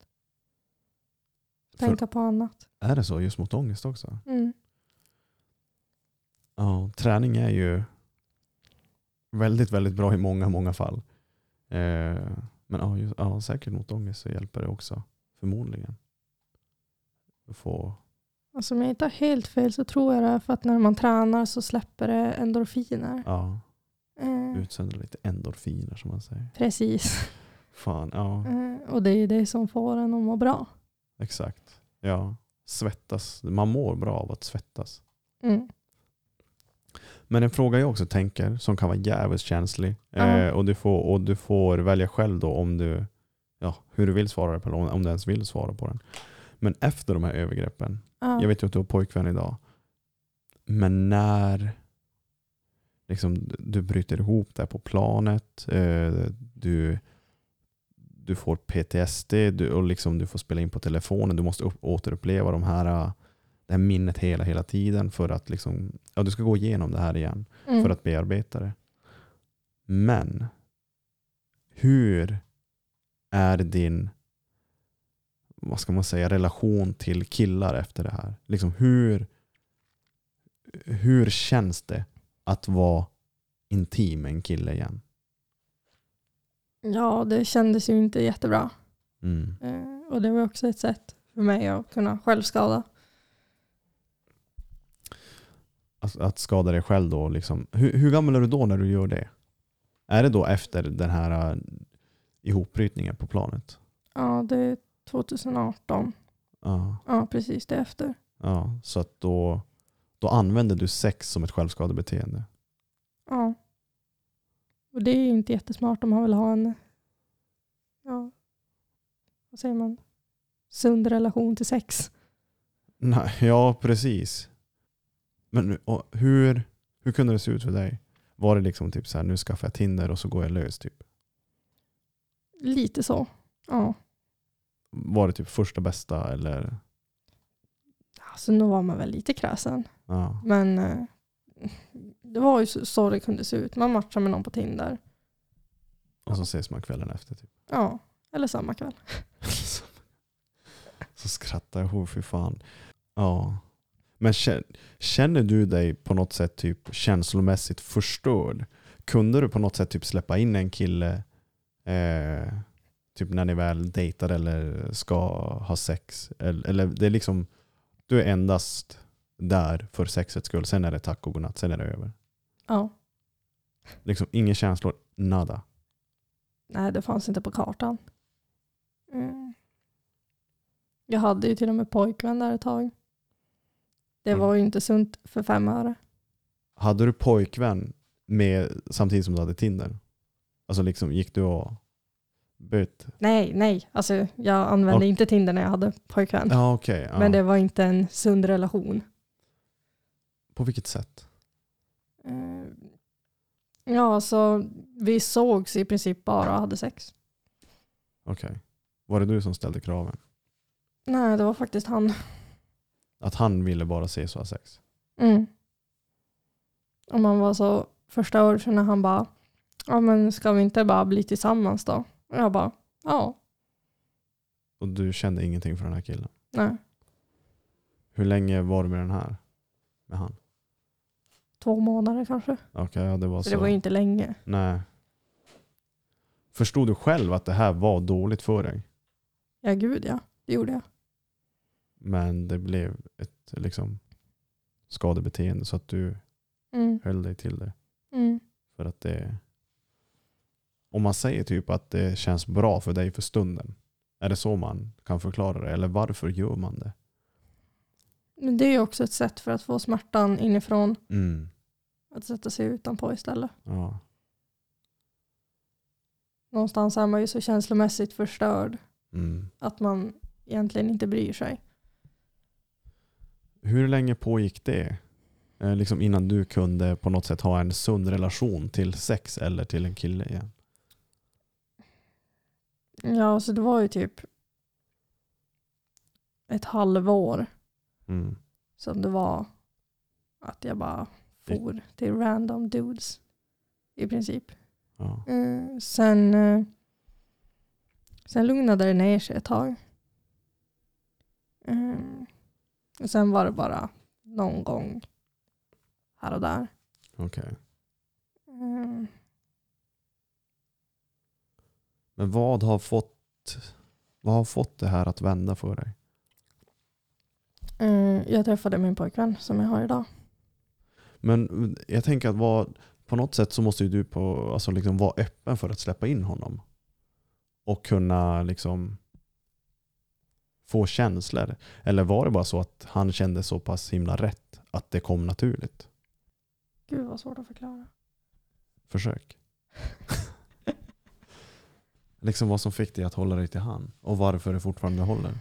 A: För,
C: Tänka på annat.
A: är det så just mot ångest också?
C: Mm.
A: Ja, träning är ju väldigt, väldigt bra i många, många fall. Eh, men ja, ju- ja, säkert mot ångest så hjälper det också, förmodligen. Att Få,
C: Alltså, om jag inte har helt fel så tror jag det är för att när man tränar så släpper det endorfiner.
A: ja,
C: Eh,
A: utsöndra lite endorfiner som man säger.
C: precis.
A: Fan, ja,
C: Eh, och det är ju det som får en att må bra.
A: exakt. Ja, svettas. Man mår bra av att svettas.
C: Mm.
A: Men en fråga jag också tänker som kan vara jävligt känslig
C: Ja.
A: eh, och, du får, och du får välja själv då om du, ja, hur du vill svara på den, om du ens vill svara på den. Men efter de här övergreppen,
C: Ja.
A: jag vet ju att du har pojkvän idag, men när liksom, du bryter ihop där på planet, eh, du, du får PTSD du, och liksom, du får spela in på telefonen, du måste upp, återuppleva de här, eh, det här minnet hela, hela tiden för att liksom, ja, du ska gå igenom det här igen
C: Mm.
A: för att bearbeta det. Men hur är din vad ska man säga, relation till killar efter det här? Liksom hur, hur känns det att vara intim med en kille igen?
C: Ja, det kändes ju inte jättebra.
A: Mm.
C: Eh, och det var också ett sätt för mig att kunna självskada.
A: Att, Alltså, att skada dig själv då. Liksom. Hur, hur gammal är du då när du gör det? Är det då efter den här eh, ihopbrytningen på planet?
C: Ja, det är 2018.
A: Ja.
C: Ja, precis det efter.
A: Ja, så att då, då använder du sex som ett självskadebeteende.
C: Ja. Och det är ju inte jättesmart om man vill ha en, ja, vad säger man, sund relation till sex.
A: Nej, ja, precis. Men nu- och hur, hur kunde det se ut för dig? Var det liksom typ så här, nu skaffar jag Tinder och så går jag lös typ?
C: Lite så. Ja.
A: Var det typ första bästa eller?
C: Alltså nu var man väl lite kräsen.
A: Ja,
C: Men eh, det var ju så, så det kunde se ut. Man matchar med någon på Tinder.
A: och så ses man kvällen efter typ.
C: Ja, eller samma kväll.
A: så skrattar jag, oh, fy fan. Ja. Men kä- känner du dig på något sätt typ känslomässigt förstörd? Kunde du på något sätt typ släppa in en kille eh, typ när ni väl dejtar eller ska ha sex? Eller, eller det är liksom, du är endast där för sexets skull. Sen är det tack och godnatt, sen är det över.
C: Ja.
A: Liksom inga känslor, nada.
C: Nej, det fanns inte på kartan. Mm. Jag hade ju till och med pojkvän där ett tag. Det
A: Mm.
C: var ju inte sunt för fem öre.
A: Hade du pojkvän med, samtidigt som du hade Tinder? Alltså liksom, gick du och bytte?
C: Nej, nej. Alltså, jag använde
A: Och-
C: inte Tinder när jag hade pojkvän.
A: Ja, okej. ja.
C: Mm. Men det var inte en sund relation.
A: På vilket sätt?
C: Eh, Ja, så vi sågs i princip bara och hade sex.
A: Okej. Var det du som ställde kraven?
C: Nej, det var faktiskt han.
A: Att han ville bara ses och ha sex?
C: Mm. Och man var så förstörd för när han bara, ja men ska vi inte bara bli tillsammans då? Och jag bara, ja,
A: Och du kände ingenting för den här killen?
C: nej,
A: Hur länge var du med den här? Med han?
C: två månader kanske.
A: Okej, ja, det var
C: Så
A: så.
C: det var ju inte länge.
A: Nej. Förstod du själv att det här var dåligt för dig?
C: Ja, gud ja, det gjorde jag.
A: Men det blev ett liksom, skadebeteende så att du
C: Mm,
A: höll dig till det.
C: mm,
A: För att det, Om man säger typ att det känns bra för dig för stunden. Är det så man kan förklara det? Eller varför gör man det?
C: Men det är ju också ett sätt för att få smärtan inifrån.
A: Mm.
C: Att sätta sig utanpå istället.
A: Ja.
C: Någonstans är man ju så känslomässigt förstörd
A: Mm.
C: att man egentligen inte bryr sig.
A: Hur länge pågick det? Eh, liksom innan du kunde på något sätt ha en sund relation till sex eller till en kille igen?
C: Ja, så det var ju typ ett halvår
A: Mm.
C: som det var att jag bara for till random dudes i princip.
A: Ja.
C: Eh, sen, eh, sen lugnade det ner sig ett tag. Eh, och sen var det bara någon gång här och där.
A: Okej.
C: Eh,
A: Men vad har, fått, vad har fått det här att vända för dig?
C: eh, jag träffade min pojkvän som jag har idag.
A: Men jag tänker att vad, på något sätt så måste ju du på, alltså liksom vara öppen för att släppa in honom. Och kunna liksom få känslor. Eller var det bara så att han kände så pass himla rätt att det kom naturligt?
C: Gud vad svårt att förklara.
A: Försök. liksom vad som fick dig att hålla dig till han. Och varför det fortfarande håller. Mm.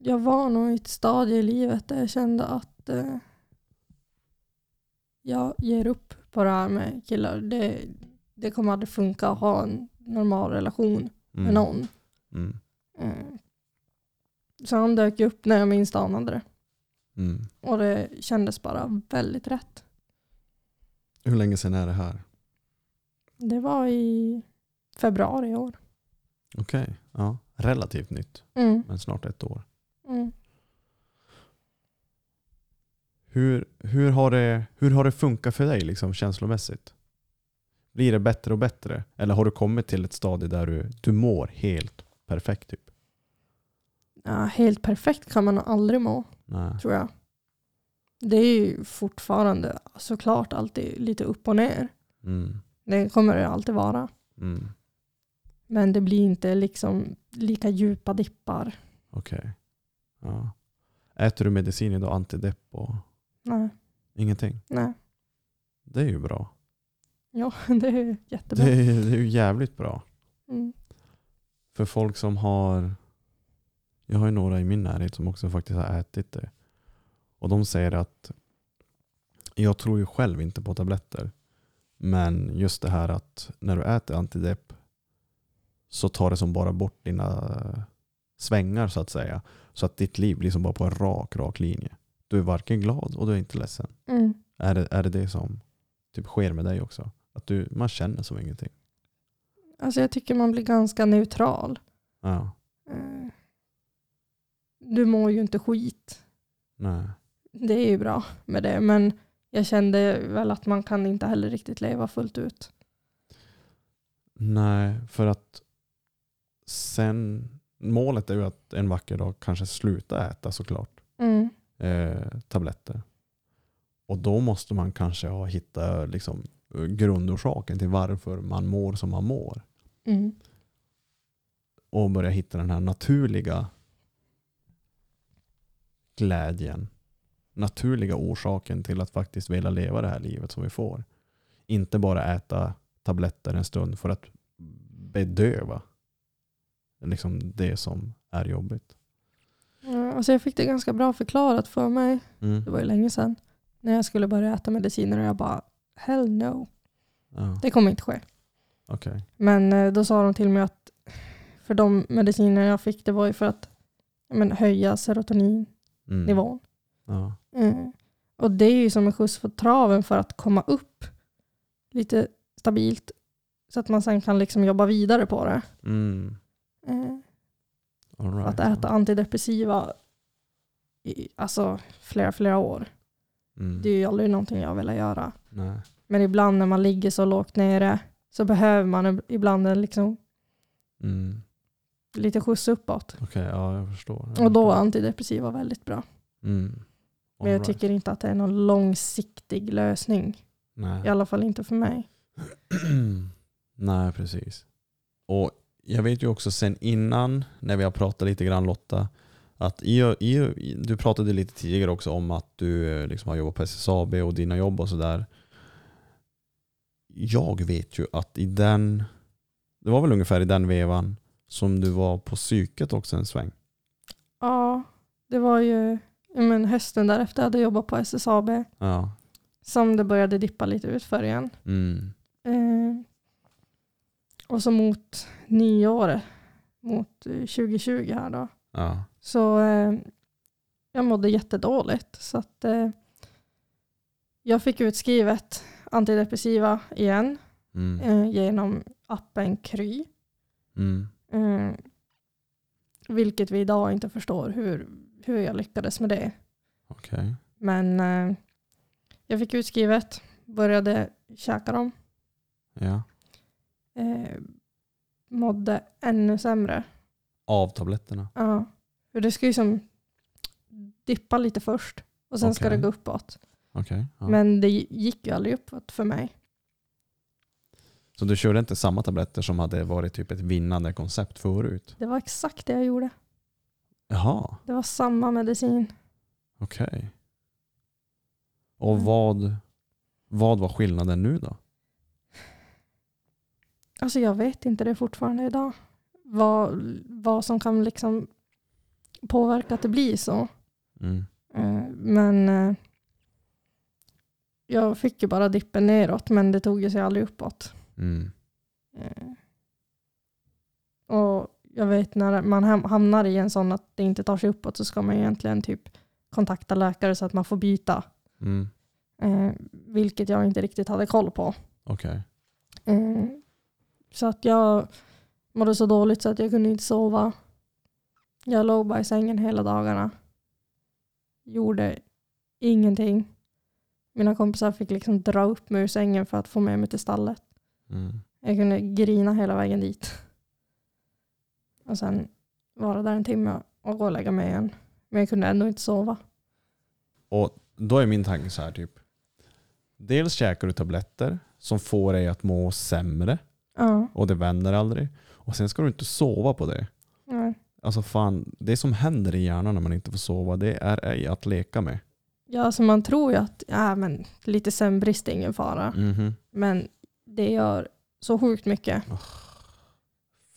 C: Jag var nog i ett stadie i livet där jag kände att eh, jag ger upp på det här med killar. Det, det kommer aldrig funka att ha en normal relation med
A: Mm.
C: någon.
A: Mm.
C: Eh, Så han dök ju upp när jag minst anade det.
A: Mm.
C: Och det kändes bara väldigt rätt.
A: Hur länge sedan är det här?
C: Det var i februari i år.
A: Okej, ja. Relativt nytt,
C: Mm,
A: men snart ett år.
C: mm.
A: Hur, hur, har, det, hur har det funkat för dig liksom, känslomässigt? Blir det bättre och bättre? Eller har du kommit till ett stadie där du, du mår helt perfekt? Typ?
C: Ja, helt perfekt kan man nog aldrig må,
A: Nej.
C: tror jag. Det är ju fortfarande såklart alltid lite upp och ner.
A: Mm,
C: Det kommer det alltid vara.
A: mm,
C: Men det blir inte liksom lika djupa dippar.
A: Okej. Ja. Äter du medicin idag? Antidepp och
C: Nej,
A: ingenting?
C: nej.
A: Det är ju bra.
C: Ja, det är jättebra.
A: Det är, det är ju jävligt bra.
C: Mm.
A: För folk som har... Jag har ju några i min närhet som också faktiskt har ätit det. Och de säger att jag tror ju själv inte på tabletter. Men just det här att när du äter antidepp så tar det som bara bort dina svängar så att säga. Så att ditt liv blir som bara på en rak, rak linje. Du är varken glad och du är inte ledsen.
C: Mm.
A: Är det är det, det som typ sker med dig också? Att du, man känner som ingenting.
C: Alltså jag tycker man blir ganska neutral.
A: Ja,
C: Eh, Du mår ju inte skit.
A: nej.
C: Det är ju bra med det. Men jag kände väl att man kan inte heller riktigt leva fullt ut.
A: Nej, för att sen målet är ju att en vacker dag kanske sluta äta såklart
C: Mm.
A: eh, tabletter. Och då måste man kanske ha hitta liksom, eh, grundorsaken till varför man mår som man mår.
C: Mm.
A: Och börja hitta den här naturliga glädjen. Naturliga orsaken till att faktiskt vilja leva det här livet som vi får. Inte bara äta tabletter en stund för att bedöva liksom det som är jobbigt.
C: Ja, Alltså jag fick det ganska bra förklarat för mig. Det var ju länge sedan. När jag skulle börja äta mediciner och jag bara hell no.
A: Ja,
C: Det kommer inte ske.
A: okej.
C: Men eh, då sa de till mig att för de mediciner jag fick det var ju för att ja, men, höja serotoninnivån.
A: Mm. Ja.
C: Eh, Och det är ju som en skjuts på traven för att komma upp lite stabilt så att man sen kan liksom jobba vidare på det.
A: Mm.
C: Eh,
A: All
C: Att
A: right.
C: äta antidepressiva i alltså, flera, flera år,
A: Mm.
C: det är ju aldrig någonting jag vill göra.
A: Nej.
C: Men ibland när man ligger så lågt nere så behöver man ibland en liksom
A: Mm.
C: lite skjuts uppåt.
A: Okej, ja jag förstår.
C: Och då var antidepressiva väldigt bra.
A: Mm. All
C: Men jag
A: right.
C: tycker inte att det är någon långsiktig lösning.
A: Nej.
C: I alla fall inte för mig.
A: Nej, precis. Och jag vet ju också sen innan, när vi har pratat lite grann Lotta, att i, i, du pratade lite tidigare också om att du eh, liksom har jobbat på SSAB och dina jobb och sådär. Jag vet ju att i den, det var väl ungefär i den vevan som du var på psyket också en sväng.
C: Ja, det var ju ja, men hösten därefter hade jag jobbat på SSAB
A: Ja.
C: som det började dippa lite utför igen.
A: Mm.
C: Eh, och så mot nyår, mot eh, 2020 här då,
A: Ja.
C: så eh, jag mådde jättedåligt. Så att, eh, jag fick utskrivet antidepressiva igen
A: Mm.
C: eh, genom appen Kry.
A: Mm.
C: Eh, vilket vi idag inte förstår hur, hur jag lyckades med det.
A: Okej.
C: Men eh, jag fick utskrivet, började käka dem,
A: Ja.
C: eh, mådde ännu sämre.
A: Av tabletterna.
C: Ja. För det ska ju som dippa lite först och sen ska det
A: Okej.
C: gå uppåt.
A: Okej. Ja.
C: Men det gick ju aldrig uppåt för mig.
A: Så du körde inte samma tabletter som hade varit typ ett vinnande koncept förut?
C: Det var exakt det jag gjorde.
A: Jaha,
C: Det var samma medicin.
A: okej. Och
C: Mm.
A: vad, vad var skillnaden nu då?
C: Alltså jag vet inte det fortfarande idag. Vad, vad som kan liksom påverka att det blir så.
A: Mm.
C: Eh, Men eh, jag fick ju bara dippen neråt men det tog ju sig aldrig uppåt.
A: Mm.
C: Eh, Och jag vet när man ham- hamnar i en sån att det inte tar sig uppåt så ska man egentligen typ kontakta läkare så att man får byta.
A: Mm.
C: eh, Vilket jag inte riktigt hade koll på.
A: Okej.
C: Eh, Så att jag mådde så dåligt så att jag kunde inte sova. Jag låg bara i sängen hela dagarna. Gjorde ingenting. Mina kompisar fick liksom dra upp mig ur sängen för att få med mig till stallet.
A: Mm.
C: Jag kunde grina hela vägen dit. Och sen vara där en timme och gå och lägga mig igen. Men jag kunde ändå inte sova.
A: Och då är min tanke så här typ. Dels käkar du tabletter som får dig att må sämre
C: Ja,
A: och det vänder aldrig. Och sen ska du inte sova på det.
C: nej.
A: Alltså fan, det som händer i hjärnan när man inte får sova det är ej att leka med.
C: ja alltså man tror ju att ja, men lite sömnbrist är ingen fara.
A: Mhm.
C: Men det gör så sjukt mycket.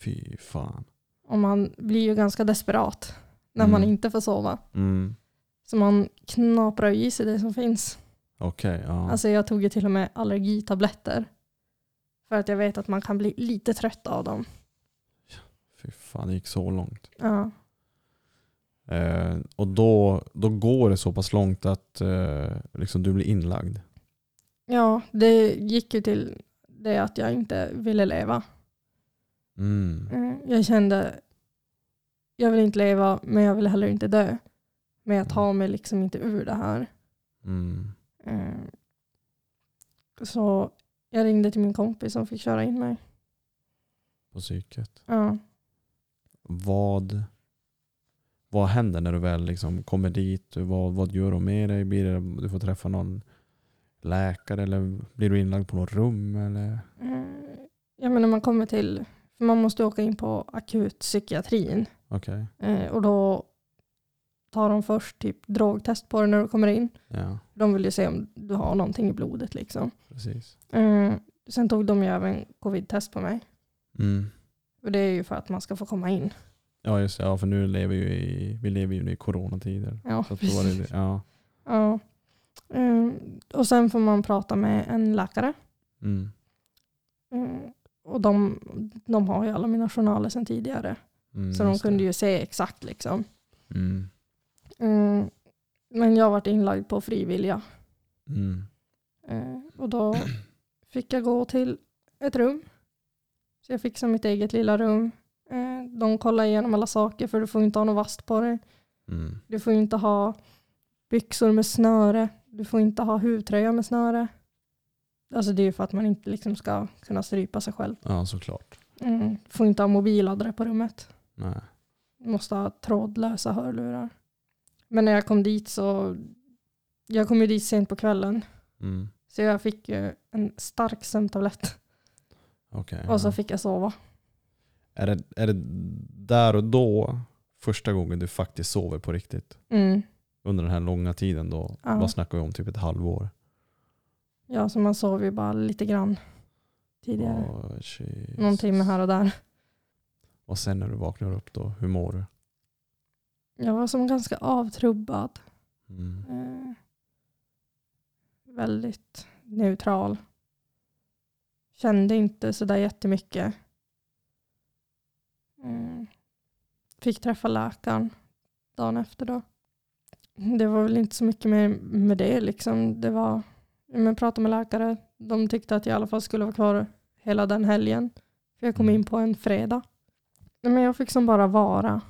A: Fy fan.
C: Och man blir ju ganska desperat när man
A: Mm.
C: inte får sova.
A: Mm.
C: Så man knaprar ju i sig det som finns.
A: Okej, ja.
C: Alltså jag tog ju till och med allergitabletter. För att jag vet att man kan bli lite trött av dem.
A: Fy fan, det gick så långt.
C: Ja,
A: Eh, och då, då går det så pass långt att eh, liksom du blir inlagd.
C: ja det gick ju till det att jag inte ville leva.
A: Mm.
C: Mm, Jag kände, jag vill inte leva men jag vill heller inte dö. Men jag tar mig liksom inte ur det här.
A: Mm.
C: Eh, Så jag ringde till min kompis som fick köra in mig.
A: På psyket.
C: Ja.
A: Vad, vad händer när du väl liksom kommer dit? Vad, vad gör de med dig? Blir det, du får träffa någon läkare eller blir du inlagd på något rum? Eller?
C: Eh, Jag menar man kommer till, för man måste åka in på akutpsykiatrin
A: Okej.
C: Eh, och då tar de först typ drogtest på dig när du kommer in.
A: Ja,
C: De vill ju se om du har någonting i blodet liksom.
A: precis.
C: Eh, Sen tog de ju även covid-test på mig.
A: Mm.
C: Och det är ju för att man ska få komma in.
A: Ja, just det. Ja, för nu lever ju i, vi lever ju i coronatider.
C: Ja,
A: Så att då var det, det- ja.
C: ja. Eh, Och sen får man prata med en läkare.
A: Mm.
C: Mm, Och de, de har ju alla mina journaler sedan tidigare.
A: Mm,
C: så de
A: just det.
C: kunde ju se exakt liksom.
A: Mm.
C: Mm, Men jag varit inlagd på frivilliga.
A: Mm.
C: Eh, Och då fick jag gå till ett rum. Så jag fick som mitt eget lilla rum. Eh, De kollade igenom alla saker för du får inte ha något vasst på dig.
A: Mm.
C: Du får inte ha byxor med snöre. Du får inte ha huvtröja med snöre. Alltså det är ju för att man inte liksom ska kunna strypa sig själv.
A: Ja, såklart.
C: Mm. Du får inte ha mobilladdare på rummet.
A: Nej.
C: måste ha trådlösa hörlurar. Men när jag kom dit så, jag kom ju dit sent på kvällen,
A: Mm.
C: så jag fick ju en stark sömntablett.
A: Okej.
C: och så fick jag sova.
A: är, det, är det där och då första gången du faktiskt sover på riktigt?
C: Mm.
A: Under den här långa tiden då?
C: Ja.
A: Vad snackar vi om? Typ ett halvår?
C: Ja, så man sov ju bara lite grann tidigare.
A: Åh, Jesus.
C: Någon timme här och där.
A: Och sen när du vaknar upp då, hur mår du?
C: Jag var som ganska avtrubbad.
A: Mm.
C: Eh, väldigt neutral. Kände inte sådär jättemycket. Mm. Fick träffa läkaren dagen efter då. Det var väl inte så mycket mer med det liksom. Det var, ja, men prata med läkare. De tyckte att jag i alla fall skulle vara kvar hela den helgen. För jag kom
A: Mm.
C: in på en fredag. Nej, Men jag fick som bara vara.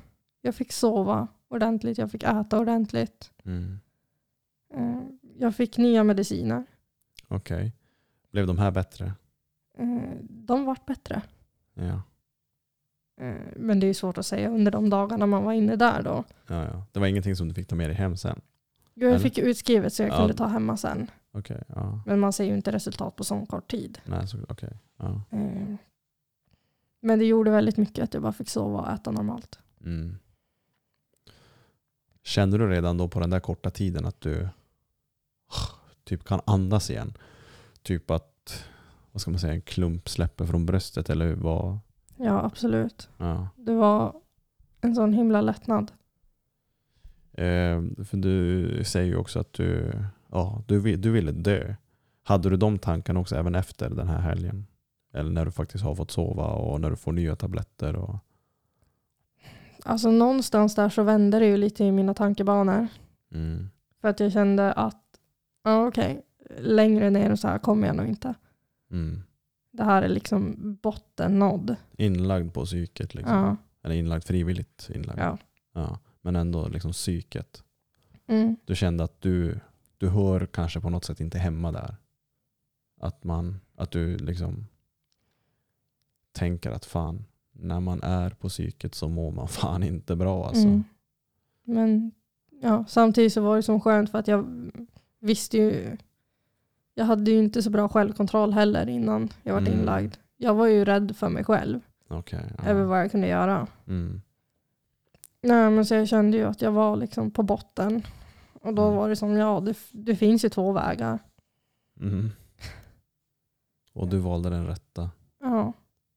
C: Jag fick sova ordentligt. Jag fick äta ordentligt.
A: Mm.
C: Eh, Jag fick nya mediciner.
A: Okej. Blev de här bättre?
C: Eh, De vart bättre.
A: Ja.
C: Eh, Men det är ju svårt att säga under de dagarna man var inne där då.
A: Ja, ja. Det var ingenting som du fick ta med dig hem sen?
C: Jo, jag
A: Eller?
C: fick utskrivet så jag
A: Ja.
C: kunde ta hemma sen.
A: Okej, ja.
C: Men man ser ju inte resultat på sån kort tid.
A: Nej, så, okej. ja.
C: Eh, Men det gjorde väldigt mycket att jag bara fick sova och äta normalt.
A: Mm. Kände du redan då på den där korta tiden att du typ kan andas igen? Typ att, vad ska man säga, en klump släpper från bröstet eller hur? Vad?
C: Ja, absolut.
A: Ja.
C: Det var en sån himla lättnad.
A: Eh, för du säger ju också att du, ja, du, vi- du ville dö. Hade du de tankarna också även efter den här helgen? Eller när du faktiskt har fått sova och när du får nya tabletter? Och,
C: Alltså någonstans där så vände det ju lite i mina tankebanor.
A: mm.
C: För att jag kände att, ja okej, längre ner än så här kommer jag nog inte.
A: Mm.
C: det här är liksom bottennådd.
A: Inlagd på psyket liksom.
C: Ja.
A: Eller inlagd frivilligt inlagd.
C: Ja.
A: Ja, men ändå liksom psyket.
C: Mm.
A: Du kände att du, du hör kanske på något sätt inte hemma där. Att, man, att du liksom tänker att fan, när man är på psyket så mår man fan inte bra alltså.
C: Mm. Men ja, samtidigt så var det som skönt för att jag visste ju, jag hade ju inte så bra självkontroll heller innan jag var
A: Mm.
C: inlagd. Jag var ju rädd för mig själv,
A: Okej, ja.
C: över vad jag kunde göra.
A: Mm.
C: Nej, men så jag kände ju att jag var liksom på botten. Och då
A: Mm.
C: var det som, ja det, f- det finns ju två vägar.
A: Mm. Och du valde den rätta,
C: Ja.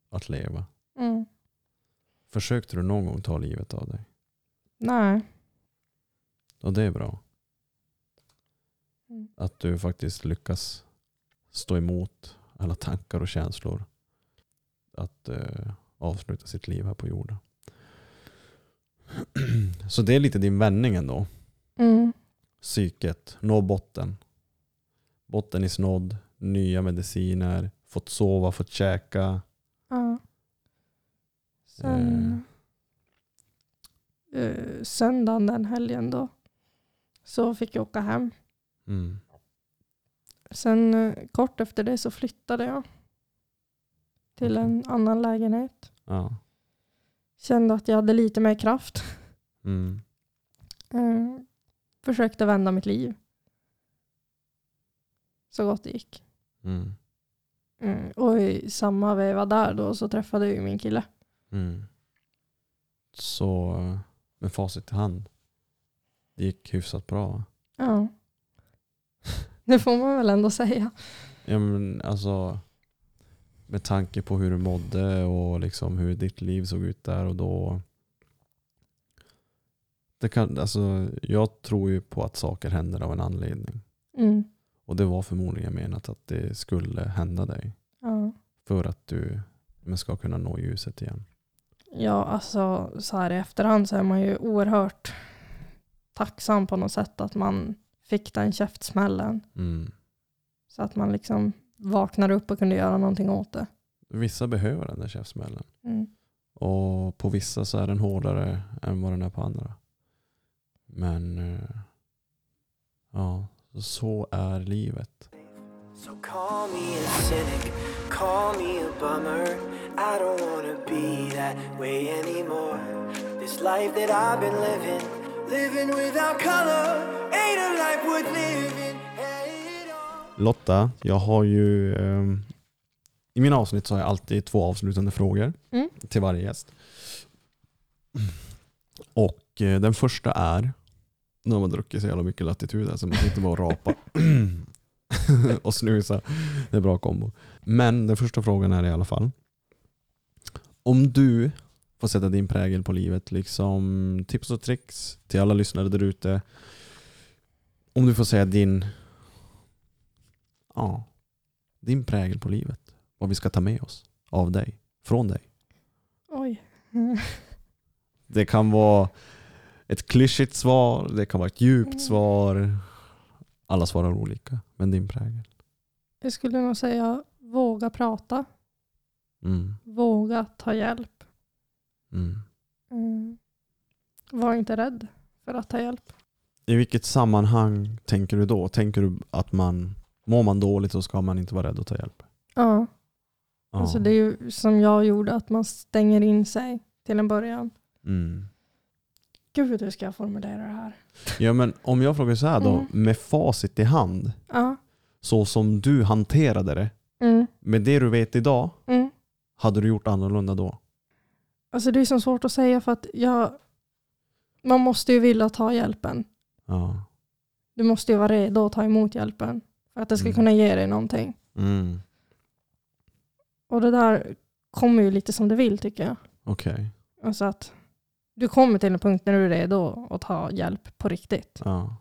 A: att leva.
C: Mm.
A: Försökte du någon gång ta livet av dig?
C: Nej.
A: Och det är bra.
C: Mm.
A: Att du faktiskt lyckas stå emot alla tankar och känslor. Att eh, avsluta sitt liv här på jorden. Så det är lite din vändning ändå.
C: Mm.
A: Psyket, nå botten. Botten is nådd, nya mediciner, fått sova, fått käka.
C: Ja. Sen, eh, söndagen den helgen då så fick jag åka hem.
A: Mm.
C: Sen eh, kort efter det så flyttade jag till
A: Okej.
C: en annan lägenhet.
A: Ja.
C: Kände att jag hade lite mer kraft.
A: Mm.
C: Eh, försökte vända mitt liv. Så gott det gick.
A: Mm.
C: Mm. Och i samma veva där då så träffade jag ju min kille.
A: Mm. Så eh, med facit i hand. Det gick hyfsat bra. va?
C: Ja. Det får man väl ändå säga.
A: Ja, men alltså, med tanke på hur du mådde och liksom hur ditt liv såg ut där och då. Det kan, alltså, jag tror ju på att saker händer av en anledning.
C: Mm.
A: Och det var förmodligen menat att det skulle hända dig.
C: Ja.
A: För att du men, ska kunna nå ljuset igen.
C: Ja, alltså så här i efterhand så är man ju oerhört tacksam på något sätt att man fick den käftsmällen.
A: Mm.
C: Så att man liksom vaknade upp och kunde göra någonting åt det.
A: Vissa behöver den där käftsmällen.
C: Mm.
A: Och på vissa så är den hårdare än vad den är på andra. Men eh, ja, så är livet.
D: So call me a cynic, call me a bummer. I don't wanna be that way anymore. This life that I've been living, living without color, ain't a life worth living. Hate it all.
A: Lotta, jag har ju ehm, I mina avsnitt så har jag alltid två avslutande frågor
C: Mm.
A: till varje gäst. Och eh, den första är, nu har man druckit så jävla mycket latitud här så man sitter bara och rapar och snusar. Det är bra kombo. Men den första frågan är i alla fall, om du får sätta din prägel på livet, liksom tips och tricks till alla lyssnare där ute. Om du får säga din, ja, din prägel på livet vad vi ska ta med oss av dig, från dig.
C: Oj.
A: Det kan vara ett klyschigt svar, det kan vara ett djupt
C: Mm.
A: svar. Alla svarar olika, men din prägel.
C: Jag skulle nog säga våga prata,
A: Mm,
C: våga ta hjälp.
A: mm.
C: Mm. Var inte rädd för att ta hjälp.
A: I vilket sammanhang tänker du då? Tänker du att man mår man dåligt så ska man inte vara rädd att ta hjälp?
C: Ja,
A: Ja.
C: Alltså det är ju som jag gjorde, att man stänger in sig till en början.
A: Mm.
C: Gud, hur ska jag formulera det här?
A: ja, men om jag frågar så här då,
C: Mm.
A: med facit i hand,
C: Ja.
A: så som du hanterade det,
C: Mm.
A: med det du vet idag,
C: Mm.
A: hade du gjort annorlunda då?
C: Alltså det är så svårt att säga för att jag, man måste ju vilja ta hjälpen.
A: Ja.
C: Du måste ju vara redo att ta emot hjälpen för att det ska
A: Mm.
C: kunna ge dig någonting.
A: Mm.
C: Och det där kommer ju lite som det vill tycker jag.
A: Okej.
C: Alltså att du kommer till en punkt när du är redo att ta hjälp på riktigt.
A: Ja.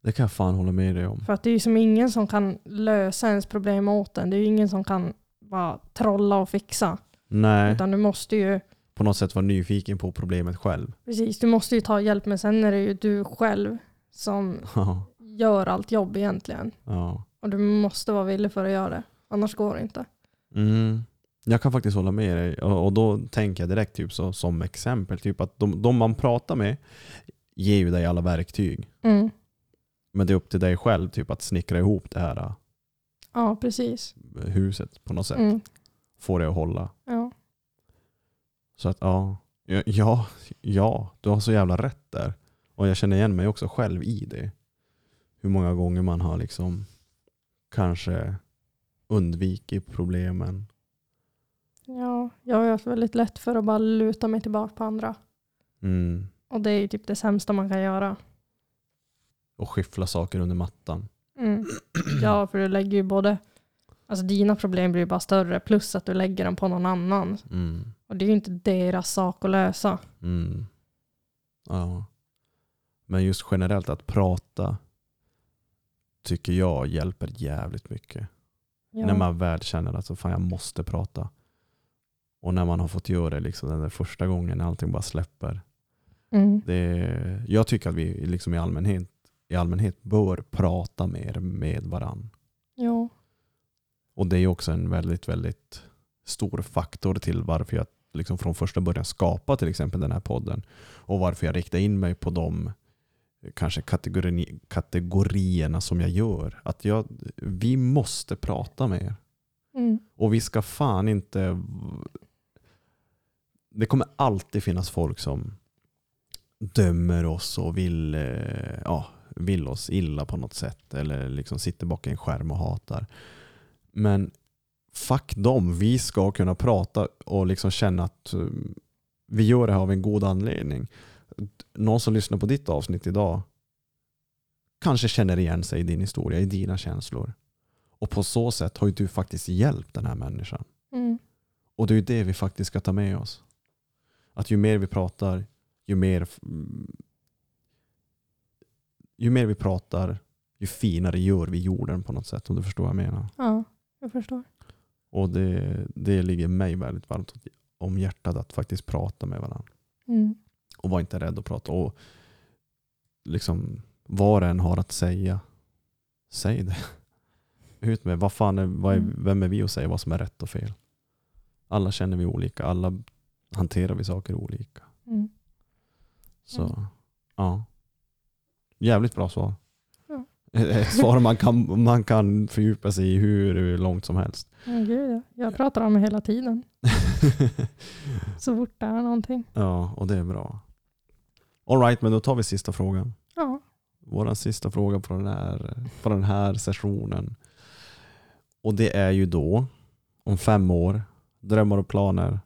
A: Det kan jag fan hålla med dig om.
C: För att det är ju som ingen som kan lösa ens problem åt en. Det är ju ingen som kan bara trolla och fixa.
A: Nej,
C: Utan du måste ju,
A: på något sätt vara nyfiken på problemet själv.
C: precis, du måste ju ta hjälp men sen är det ju du själv som
A: Ja.
C: gör allt jobb egentligen.
A: ja.
C: Och du måste vara villig för att göra det. Annars går det inte.
A: Mm. Jag kan faktiskt hålla med dig och och då tänker jag direkt typ så, som exempel typ att de, de man pratar med ger ju dig alla verktyg.
C: Mm.
A: Men det är upp till dig själv typ att snickra ihop det här eh,
C: Ja, precis.
A: huset på något sätt.
C: Mm.
A: Få det att hålla.
C: Ja.
A: Så att ja, Ja, ja, ja, du har så jävla rätt där. Och jag känner igen mig också själv i det. Hur många gånger man har liksom kanske undvikit problemen.
C: ja, jag har ju haft väldigt lätt för att bara luta mig tillbaka på andra.
A: Mm.
C: Och det är ju typ det sämsta man kan göra.
A: Och skyffla saker under mattan.
C: Mm. Ja, för du lägger ju både... Alltså dina problem blir ju bara större plus att du lägger dem på någon annan.
A: Mm.
C: Och det är ju inte deras sak att lösa.
A: Mm. Ja. Men just generellt att prata tycker jag hjälper jävligt mycket.
C: Ja.
A: När man väl känner att så fan, jag måste prata. Och när man har fått göra det liksom, den där första gången när allting bara släpper.
C: Mm.
A: Det, jag tycker att vi liksom i, allmänhet, i allmänhet bör prata mer med varann.
C: Ja.
A: Och det är också en väldigt, väldigt stor faktor till varför jag liksom från första början skapade till exempel den här podden. Och varför jag riktar in mig på de kanske kategori, kategorierna som jag gör. Att jag, vi måste prata mer.
C: Mm.
A: Och vi ska fan inte... Det kommer alltid finnas folk som dömer oss och vill, eh, ja, vill oss illa på något sätt. Eller liksom sitter bakom en skärm och hatar. Men fuck dem. Vi ska kunna prata och liksom känna att eh, vi gör det här av en god anledning. Någon som lyssnar på ditt avsnitt idag kanske känner igen sig i din historia, i dina känslor. Och på så sätt har ju du faktiskt hjälpt den här människan.
C: Mm.
A: Och det är ju det vi faktiskt ska ta med oss. Att ju mer vi pratar, ju mer, mm, ju mer vi pratar, ju finare gör vi jorden på något sätt. Om du förstår vad jag menar.
C: ja, jag förstår.
A: Och det, det ligger mig väldigt varmt om hjärtat att faktiskt prata med varandra.
C: Mm.
A: Och var inte rädd att prata. Och liksom, vad en har att säga, säg det. Ut med vad fan är, vad är,
C: Mm.
A: vem är vi att säga vad som är rätt och fel? Alla känner vi olika, alla hanterar vi saker olika.
C: Mm.
A: Så
C: Mm.
A: ja, jävligt bra svar.
C: Ja.
A: Ett svar man kan, man kan fördjupa sig i hur långt som helst.
C: Men gud, ja. jag pratar om det hela tiden. Så fort det är någonting.
A: ja, och det är bra. Alright, men då tar vi sista frågan.
C: Ja.
A: Vår sista fråga på den här, på den här sessionen. Och det är ju då, om fem år, drömmar och planer.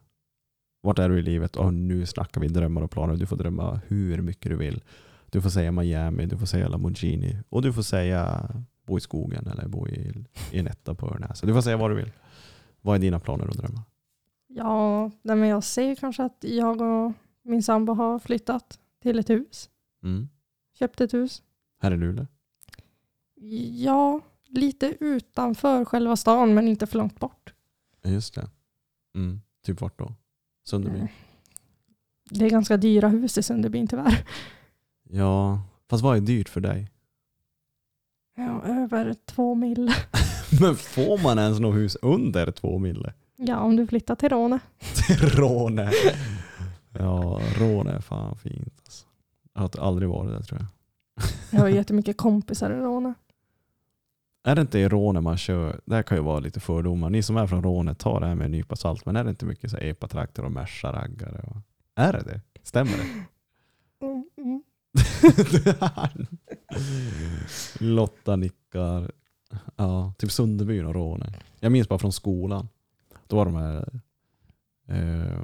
A: Vart är du i livet? Och nu snackar vi drömmar och planer. Du får drömma hur mycket du vill. Du får säga Miami, du får säga Lamborghini och du får säga bo i skogen eller bo i, i en etta på Örnäs. Du får säga vad du vill. Vad är dina planer och drömmar?
C: Ja, nej, men jag ser kanske att jag och min sambo har flyttat till ett hus.
A: Mm.
C: Köpt ett hus.
A: Här i Luleå?
C: Ja, lite utanför själva stan men inte för långt bort.
A: Ja, Just det. Mm. Typ vart då? Sunderby?
C: Det är ganska dyra hus i Sunderbyn tyvärr.
A: Ja, fast vad är dyrt för dig?
C: Ja, över två mil.
A: Men får man ens något hus under två mille?
C: Ja, om du flyttar till Råne.
A: Råne. Ja, Råne är fan fint. Alltså. Jag har aldrig varit där tror jag.
C: Jag har jättemycket kompisar i Råne.
A: Är det inte i Råne man kör, det här kan ju vara lite fördomar, ni som är från Råne, ta det här med en nypa salt, men är det inte mycket så här epatrakter och Merca-raggare? Och... Är det det? Stämmer det?
C: Mm, mm.
A: Lotta nickar. Ja, typ Sunderbyn och Råne. Jag minns bara från skolan. Då var de här eh,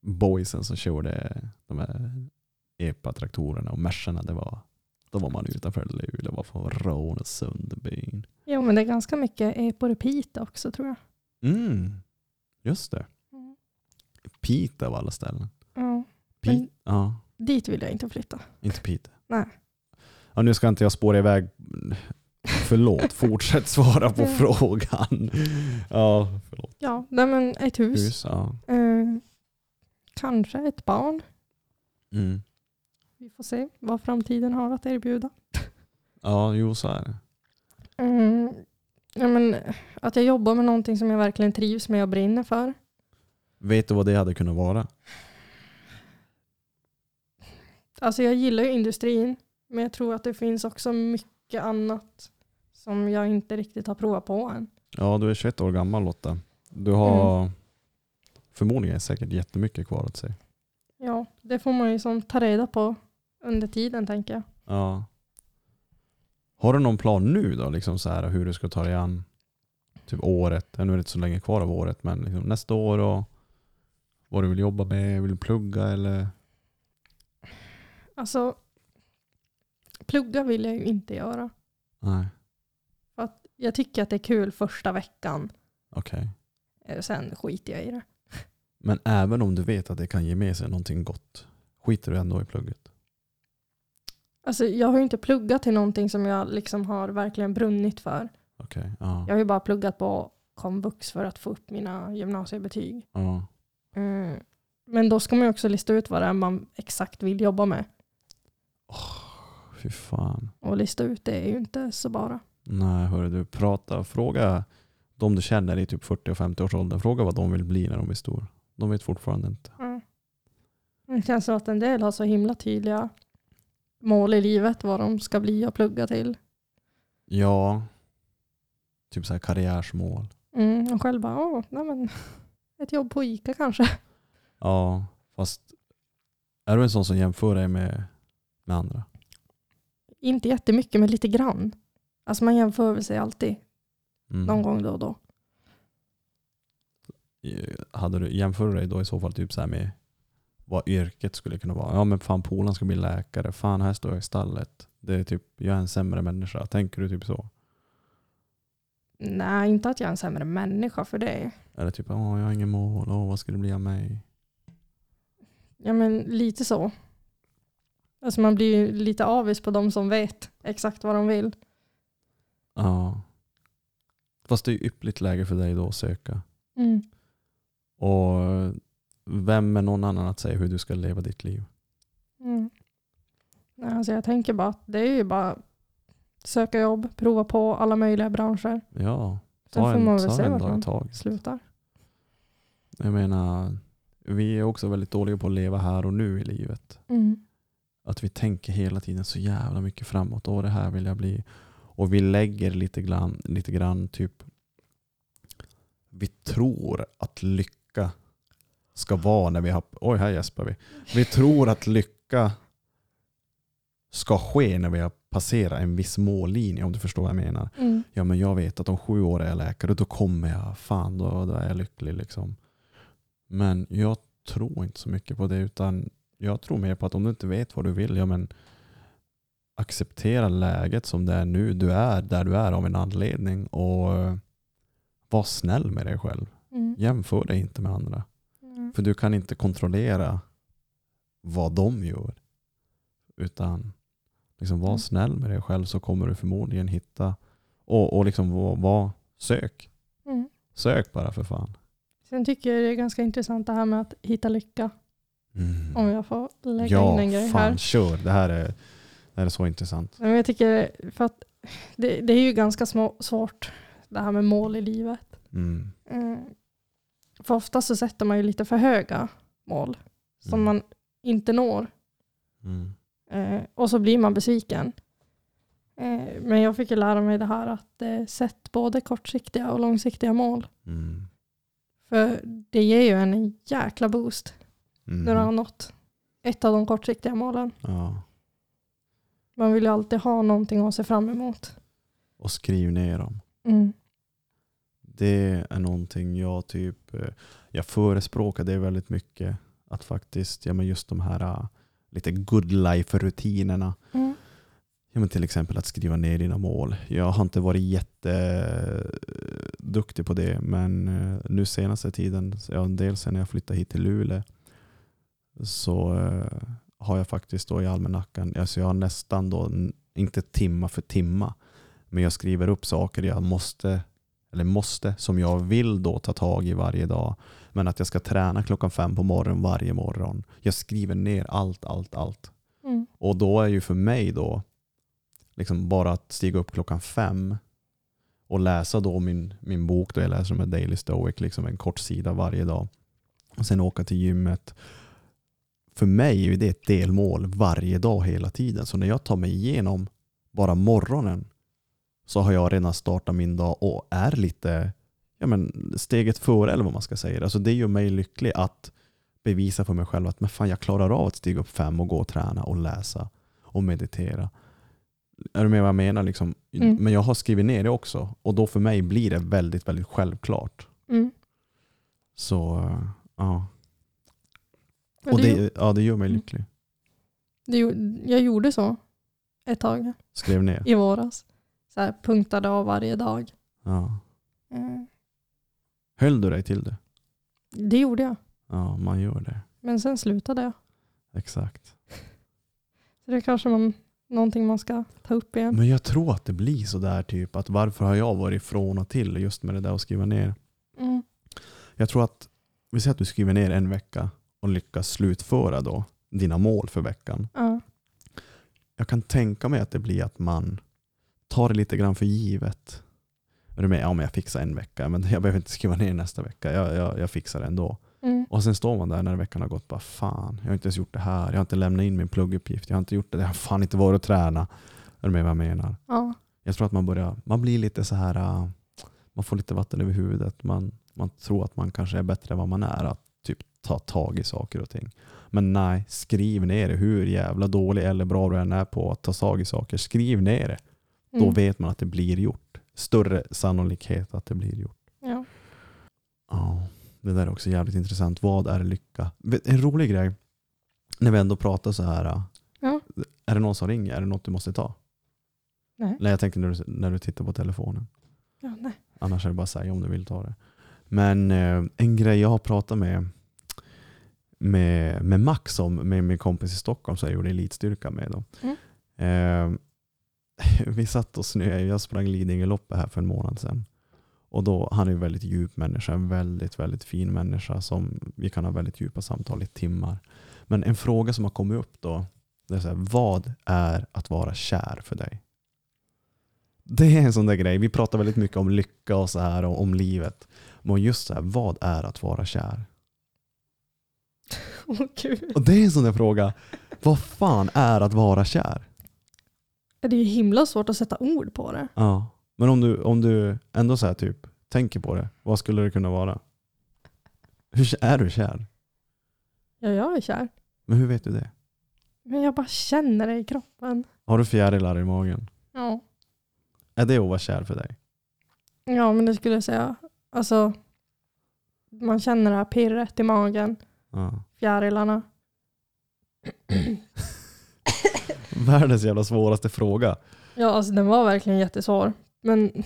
A: boysen som körde de här epa-traktorerna och Mercerna. Det var, då var man utanför Luleå, var från Råne och Sunderbyn.
C: Jo, men det är ganska mycket eh, på repeat också tror jag.
A: Mm, just det.
C: Mm.
A: Piteå av alla ställen.
C: Ja.
A: Pite,
C: Men-
A: ja.
C: Dit vill jag inte flytta.
A: Inte Peter.
C: Nej.
A: Ja, nu ska inte jag spåra iväg. Förlåt, fortsätt svara på
C: Ja.
A: frågan. Ja, förlåt.
C: Ja, nej, men ett hus.
A: Hus, ja.
C: Eh, kanske ett barn.
A: Mm.
C: Vi får se vad framtiden har att erbjuda.
A: Ja, jo så är det.
C: Mm. Ja, men, att jag jobbar med någonting som jag verkligen trivs med och brinner för.
A: Vet du vad det hade kunnat vara?
C: Alltså jag gillar ju industrin, men jag tror att det finns också mycket annat som jag inte riktigt har provat på än.
A: Ja, du är 21 år gammal Lotta. Du har förmodligen säkert jättemycket kvar att säga.
C: Ja, det får man ju som ta reda på under tiden tänker jag.
A: Ja. Har du någon plan nu då? Liksom så här, hur du ska ta dig an typ året? Ja, Nu är det inte så länge kvar av året, men liksom nästa år och vad du vill jobba med? Vill du plugga eller?
C: Alltså, plugga vill jag ju inte göra.
A: Nej,
C: Jag tycker att det är kul första veckan,
A: okej.
C: eh, sen skiter jag i det.
A: Men även om du vet att det kan ge med sig någonting gott, skiter du ändå i plugget?
C: Alltså jag har ju inte pluggat till någonting som jag liksom har verkligen brunnit för.
A: Okej, ja.
C: Jag har ju bara pluggat på komvux för att få upp mina gymnasiebetyg.
A: ja.
C: Mm. Men då ska man ju också lista ut vad det är man exakt vill jobba med.
A: Fy fan.
C: Och lista ut det är ju inte så bara.
A: Nej, hörru du, prata, fråga de du känner i typ 40 och 50 års ålder, fråga vad de vill bli när de blir stor. De vet fortfarande inte.
C: Det känns som att en del har så himla tydliga mål i livet, vad de ska bli och plugga till.
A: Ja, typ så här karriärsmål.
C: Mm. Och själv bara, åh, nej men ett jobb på ICA kanske.
A: Ja, fast är du en sån som jämför dig med, med andra?
C: Inte jättemycket, men lite grann. Alltså man jämför väl sig alltid,
A: Mm.
C: någon gång då och då.
A: Hade du, jämför du dig då i så fall typ så här med vad yrket skulle kunna vara? Ja men fan polaren ska bli läkare, fan här står jag i stallet. Det är typ, jag är en sämre människa. Tänker du typ så?
C: Nej, inte att jag är en sämre människa för det.
A: Eller typ, åh jag har ingen mål, åh vad ska det bli av mig?
C: Ja, men lite så. Alltså man blir ju lite avis på de som vet exakt vad de vill.
A: Ja. Fast det är ju yppligt läge för dig då att söka.
C: Mm.
A: Och vem är någon annan att säga hur du ska leva ditt liv?
C: Mm. Nej, alltså jag tänker bara att det är ju bara söka jobb, prova på alla möjliga branscher.
A: Ja,
C: Sen
A: ta
C: får man
A: en,
C: väl
A: ta
C: se
A: en
C: vart
A: dag i
C: man
A: taget.
C: slutar.
A: Jag menar, vi är också väldigt dåliga på att leva här och nu i livet.
C: Mm.
A: Att vi tänker hela tiden så jävla mycket framåt. Åh, det här vill jag bli. Och vi lägger lite grann, lite grann typ... Vi tror att lycka ska vara när vi har... Oj, här gäspar vi. Vi tror att lycka ska ske när vi har passera en viss mållinje om du förstår vad jag menar.
C: Mm.
A: Ja men jag vet att om sju år är jag läkare och då kommer jag, fan då, då är jag lycklig liksom. Men jag tror inte så mycket på det utan jag tror mer på att om du inte vet vad du vill, ja men acceptera läget som det är nu. Du är där du är av en anledning och eh, var snäll med dig själv.
C: Mm.
A: Jämför dig inte med andra.
C: Mm.
A: För du kan inte kontrollera vad de gör. Utan liksom var
C: Mm.
A: snäll med dig själv så kommer du förmodligen hitta och, och liksom var, var, sök.
C: Mm.
A: Sök bara för fan.
C: Sen tycker jag det är ganska intressant det här med att hitta lycka. Om jag får lägga in en grej
A: Mm. Ja,
C: här.
A: fan kör. Det här är, det här är så intressant.
C: Nej, Men jag tycker, för att det, det är ju ganska små, svårt det här med mål i livet.
A: Mm.
C: Mm. För ofta så sätter man ju lite för höga mål som
A: Mm.
C: man inte når
A: Mm.
C: eh, och så blir man besviken. Eh, men jag fick ju lära mig det här att eh, sätt både kortsiktiga och långsiktiga mål.
A: Mm.
C: För det ger ju en en jäkla boost
A: Mm.
C: när du har nått ett av de kortsiktiga målen.
A: Ja.
C: Man vill ju alltid ha någonting att se fram emot.
A: Och skriv ner dem.
C: Mm.
A: Det är någonting jag typ eh, jag förespråkar det väldigt mycket. Att faktiskt, ja men just de här eh, lite good life-rutinerna.
C: Mm.
A: Ja men till exempel att skriva ner dina mål. Jag har inte varit jätteduktig på det men eh, nu senaste tiden, så, ja, dels sen jag flyttade hit till Luleå, så eh, har jag faktiskt då i almanackan, alltså jag har nästan då, n- inte timma för timma, men jag skriver upp saker jag måste, eller måste, som jag vill då ta tag i varje dag. Men att jag ska träna klockan fem på morgonen varje morgon. Jag skriver ner allt, allt, allt.
C: Mm.
A: Och då är ju för mig då, liksom bara att stiga upp klockan fem och läsa då min, min bok, då jag läser med Daily Stoic, liksom en kort sida varje dag. Och sen åka till gymmet. För mig är ju det ett delmål varje dag hela tiden. Så när jag tar mig igenom bara morgonen så har jag redan startat min dag och är lite ja men, steget före eller vad man ska säga. Alltså det gör mig lycklig att bevisa för mig själv att men fan, jag klarar av att stiga upp fem och gå och träna och läsa och meditera. Är du med vad jag menar? Liksom?
C: Mm.
A: Men jag har skrivit ner det också och då för mig blir det väldigt, väldigt självklart.
C: Mm.
A: Så ja,
C: Men
A: och
C: det
A: det, ja, det gör mig
C: Mm.
A: lycklig.
C: Det, gjo- jag gjorde så ett tag
A: Skrev ner.
C: i våras. Så här, punktade av varje dag.
A: Ja.
C: Eh,
A: Höll du dig till det?
C: Det gjorde jag,
A: Ja, man gör det.
C: men sen slutade jag.
A: Exakt.
C: Så det är kanske man, någonting man ska ta upp igen.
A: Men jag tror att det blir så där typ att varför har jag varit från och till just med det där att skriva ner?
C: Mm.
A: Jag tror att, vi säger att du skriver ner en vecka och lyckas slutföra då dina mål för veckan.
C: Mm. Ja.
A: Jag kan tänka mig att det blir att man tar det lite grann för givet. Är du med? Ja, men jag fixar en vecka, men jag behöver inte skriva ner nästa vecka. Jag, jag, jag fixar det ändå.
C: Mm.
A: Och sen står man där när veckan har gått bara fan, jag har inte ens gjort det här, jag har inte lämnat in min plugguppgift, jag har inte gjort det, jag har fan inte varit och träna. Är du med vad jag menar?
C: Ja.
A: Jag tror att man börjar, man blir lite så här, äh, man får lite vatten över huvudet, man, man tror att man kanske är bättre än vad man är, att typ ta tag i saker och ting. Men nej, skriv ner det, hur jävla dålig eller bra du än är på att ta tag i saker, skriv ner det. Då
C: Mm.
A: vet man att det blir gjort. Större sannolikhet att det blir gjort.
C: Ja.
A: Ja, det där är också jävligt intressant. Vad är lycka? Vet- En rolig grej, när vi ändå pratar så här.
C: Ja.
A: Är det någon som ringer? Är det något du måste ta?
C: Nej.
A: Nej, jag tänkte när du, när du tittar på telefonen.
C: Ja, nej.
A: Annars är det bara att säga om du vill ta det. Men eh, en grej jag har pratat med, med, med Max om, med min kompis i Stockholm som jag gjorde elitstyrka med. Då.
C: Mm.
A: Eh, vi satt och snöade, jag sprang Lidingöloppet här för en månad sedan. Och då, han är en väldigt djup människa, en väldigt, väldigt fin människa som vi kan ha väldigt djupa samtal i timmar. Men en fråga som har kommit upp då, det är så här, vad är att vara kär för dig? Det är en sån där grej. Vi pratar väldigt mycket om lycka och så här och om livet. Men just så här, vad är att vara kär?
C: Åh gud.
A: Och det är en sån där fråga. Vad fan är att vara kär?
C: Det är ju himla svårt att sätta ord på det.
A: Ja. Men om du, om du ändå så här typ tänker på det, vad skulle det kunna vara? Hur k- är du kär?
C: Ja, jag är kär.
A: Men hur vet du det?
C: Men jag bara känner det i kroppen.
A: Har du fjärilar i magen?
C: Ja.
A: Är det att vara kär för dig?
C: ja, men det skulle jag säga. Alltså, man känner det här pirret i magen,
A: Ja.
C: fjärilarna.
A: Världens jävla svåraste fråga.
C: Ja, alltså den var verkligen jättesvår. Men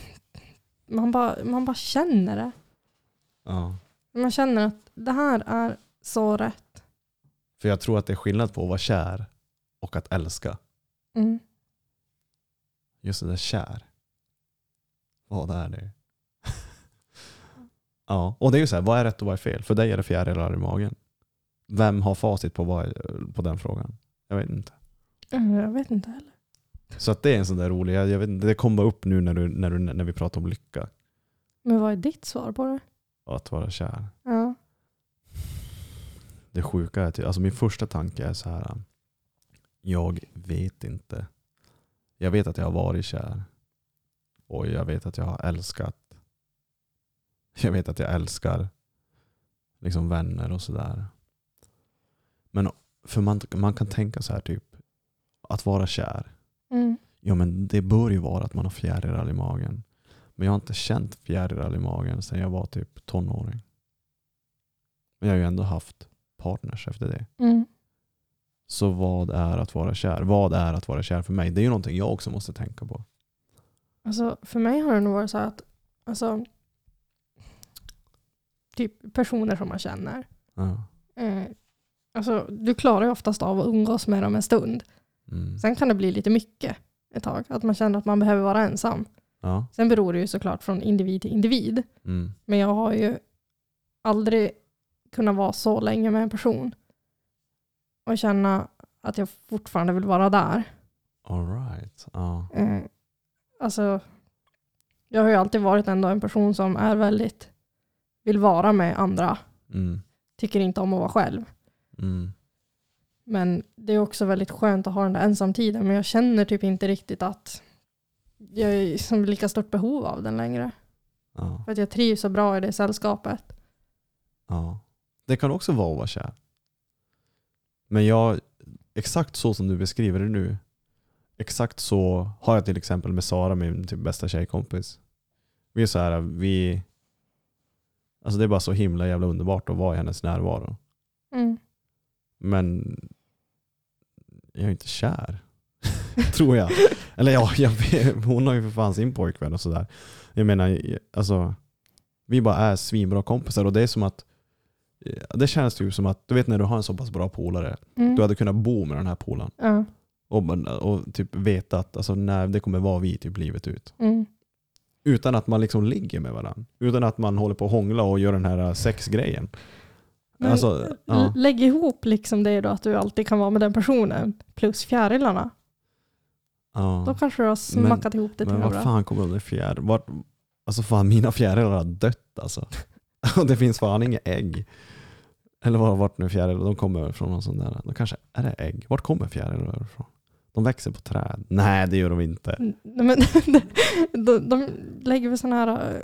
C: man bara, man bara känner det.
A: Ja.
C: Man känner att det här är så rätt.
A: För jag tror att det är skillnad på att vara kär och att älska.
C: Mm.
A: Just det där kär. Vad är det? ja, och det är ju så här, vad är rätt och vad är fel? För dig är det fjärilar i magen. Vem har facit på, vad, på den frågan? Jag vet inte.
C: Mm, Jag vet inte heller.
A: Så att det är en sån där rolig, jag jag vet, inte, det kom bara upp nu när, du, när, du, när vi pratade om lycka.
C: Men vad är ditt svar på det?
A: Att vara kär.
C: Ja.
A: Det sjuka är, typ- alltså min första tanke är så här. um, Jag vet inte. Jag vet att jag har varit kär. Och jag vet att jag har älskat. Jag vet att jag älskar liksom vänner och sådär. Men för man, man kan tänka så här typ. Att vara kär.
C: Mm.
A: Ja men det bör ju vara att man har fjärilar i magen. Men jag har inte känt fjärilar i magen sedan jag var typ tonåring. Men jag har ju ändå haft partners efter det.
C: Mm.
A: Så vad är att vara kär? Vad är att vara kär för mig? Det är ju någonting jag också måste tänka på.
C: Alltså, för mig har det nog varit så här att alltså, typ personer som man känner.
A: Ja.
C: Eh, alltså, du klarar ju oftast av att umgås med dem en stund.
A: Mm.
C: Sen kan det bli lite mycket ett tag. Att man känner att man behöver vara ensam.
A: Ja.
C: Sen beror det ju såklart från individ till individ.
A: Mm.
C: Men jag har ju aldrig kunnat vara så länge med en person. Och känna att jag fortfarande vill vara där.
A: All right. Ja.
C: Eh, alltså, jag har ju alltid varit ändå en person som är väldigt, vill vara med andra,
A: Mm.
C: tycker inte om att vara själv.
A: Mm.
C: Men det är också väldigt skönt att ha den där ensamtiden, men jag känner typ inte riktigt att jag är som lika stort behov av den längre.
A: Ja.
C: För att jag trivs så bra i det sällskapet.
A: Ja. Det kan också vara att vara kär. Men jag, exakt så som du beskriver det nu, exakt så har jag till exempel med Sara, min typ bästa tjejkompis. Vi är så här, vi... Alltså det är bara så himla jävla underbart att vara i hennes närvaro.
C: Mm.
A: Men jag är inte kär. Tror jag. Eller ja, jag vet, hon har ju för fan sin pojkvän och sådär. Jag menar, alltså, vi bara är svinbra kompisar och det är som att det känns typ som att, du vet när du har en så pass bra polare,
C: Mm.
A: du hade kunnat bo med den här polaren
C: Ja.
A: och, man- och typ veta att alltså, när det kommer vara vi typ livet ut.
C: Mm.
A: Utan att man liksom ligger med varandra. Utan att man håller på och hångla och gör den här eh, sexgrejen.
C: Men
A: Alltså,
C: l-
A: ja.
C: Lägg ihop liksom det då att du alltid kan vara med den personen plus fjärilarna.
A: Ja.
C: Då kanske du har smackat ihop det till
A: Men
C: något
A: vad
C: bra.
A: fan kommer de där fjär... Vart... Alltså fan mina fjärilar har dött alltså. Och det finns fan inga ägg. Eller var, vart nu fjärilar, de kommer från någon sån där. De kanske, är det ägg? Vart kommer fjärilar ifrån? De växer på träd. Nej det gör de inte.
C: Mm, nej, Men, de, de lägger väl sådana här, eh,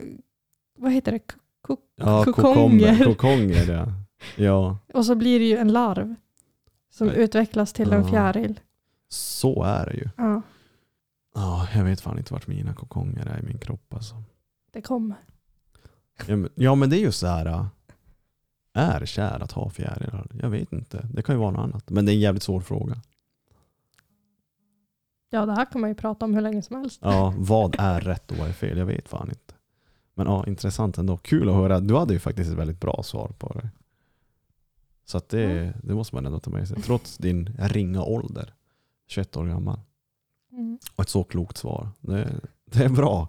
C: vad heter det, K- ko-
A: Ja,
C: Kokonger.
A: kokonger. Kokonger ja. ja,
C: och så blir det ju en larv som
A: Nej.
C: utvecklas till en
A: Ja.
C: fjäril.
A: så är det ju.
C: Ja,
A: Ja, jag vet fan inte vart mina kokonger är i min kropp alltså.
C: det kommer.
A: Ja men, ja, men det är ju så här. äh, Är kär att ha fjärilar? Jag vet inte. Det kan ju vara något annat. Men det är en jävligt svår fråga.
C: Ja, det här kan man ju prata om hur länge som helst.
A: Ja, vad är rätt och vad är fel? Jag vet fan inte. Men ja, intressant ändå. Kul att höra. Du hade ju faktiskt ett väldigt bra svar på det. Så att det, det måste man ändå ta med sig. Trots din ringa ålder, 21 år gammal,
C: Mm.
A: och ett så klokt svar. Det, det är bra.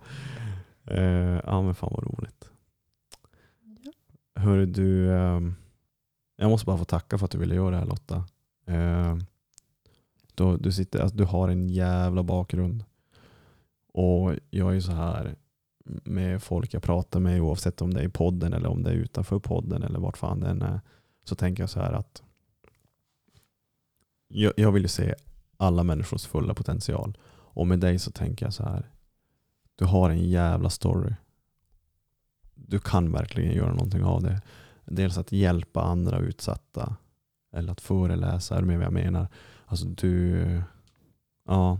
A: Eh, ja men fan vad roligt. Hör du, ehm, jag måste bara få tacka för att du ville göra det här Lotta. Eh, du, du, sitter, alltså, du har en jävla bakgrund. Och jag är ju så här med folk jag pratar med oavsett om det är i podden eller om det är utanför podden eller vart fan det än är. Så tänker jag så här att jag, jag vill ju se alla människors fulla potential. Och med dig så tänker jag så här. Du har en jävla story. Du kan verkligen göra någonting av det. Dels att hjälpa andra utsatta. Eller att föreläsa, är du med vad jag menar? Alltså du... Ja,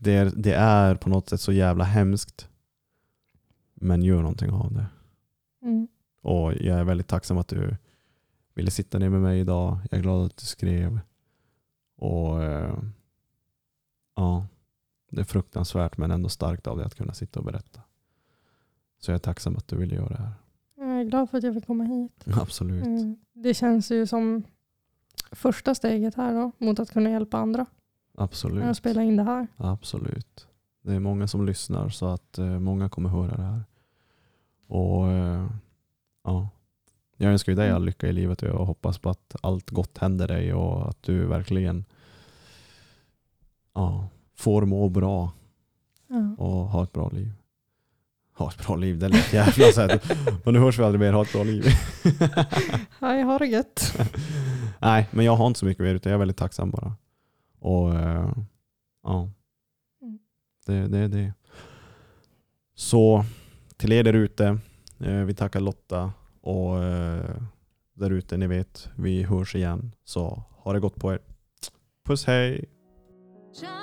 A: det är, det är på något sätt så jävla hemskt. Men gör någonting av det.
C: Mm.
A: Och jag är väldigt tacksam att du ville sitta ner med mig idag. Jag är glad att du skrev. Och eh, ja, det är fruktansvärt men ändå starkt av dig att kunna sitta och berätta. Så jag är tacksam att du ville göra det här.
C: Jag är glad för att jag fick komma hit.
A: Absolut.
C: Mm. Det känns ju som första steget här då, mot att kunna hjälpa andra. När jag
A: Absolut.
C: spelar in det här.
A: Absolut. Det är många som lyssnar så att eh, många kommer höra det här. Och eh, ja, jag önskar ju dig all lycka i livet och jag hoppas på att allt gott händer dig och att du verkligen ja, får må bra
C: Ja.
A: och ha ett bra liv. Ha ett bra liv, det lät jävla så här. Men nu hörs vi aldrig mer, ha ett bra liv.
C: Hej, ha det gött.
A: Nej, men jag har inte så mycket mer utan jag är väldigt tacksam bara. Och eh, ja,
C: Mm.
A: det är det, är det. Så till er där ute, eh, vi tackar Lotta och eh, där ute, ni vet, vi hörs igen. Så ha det gott på er. Puss hej!
B: Shine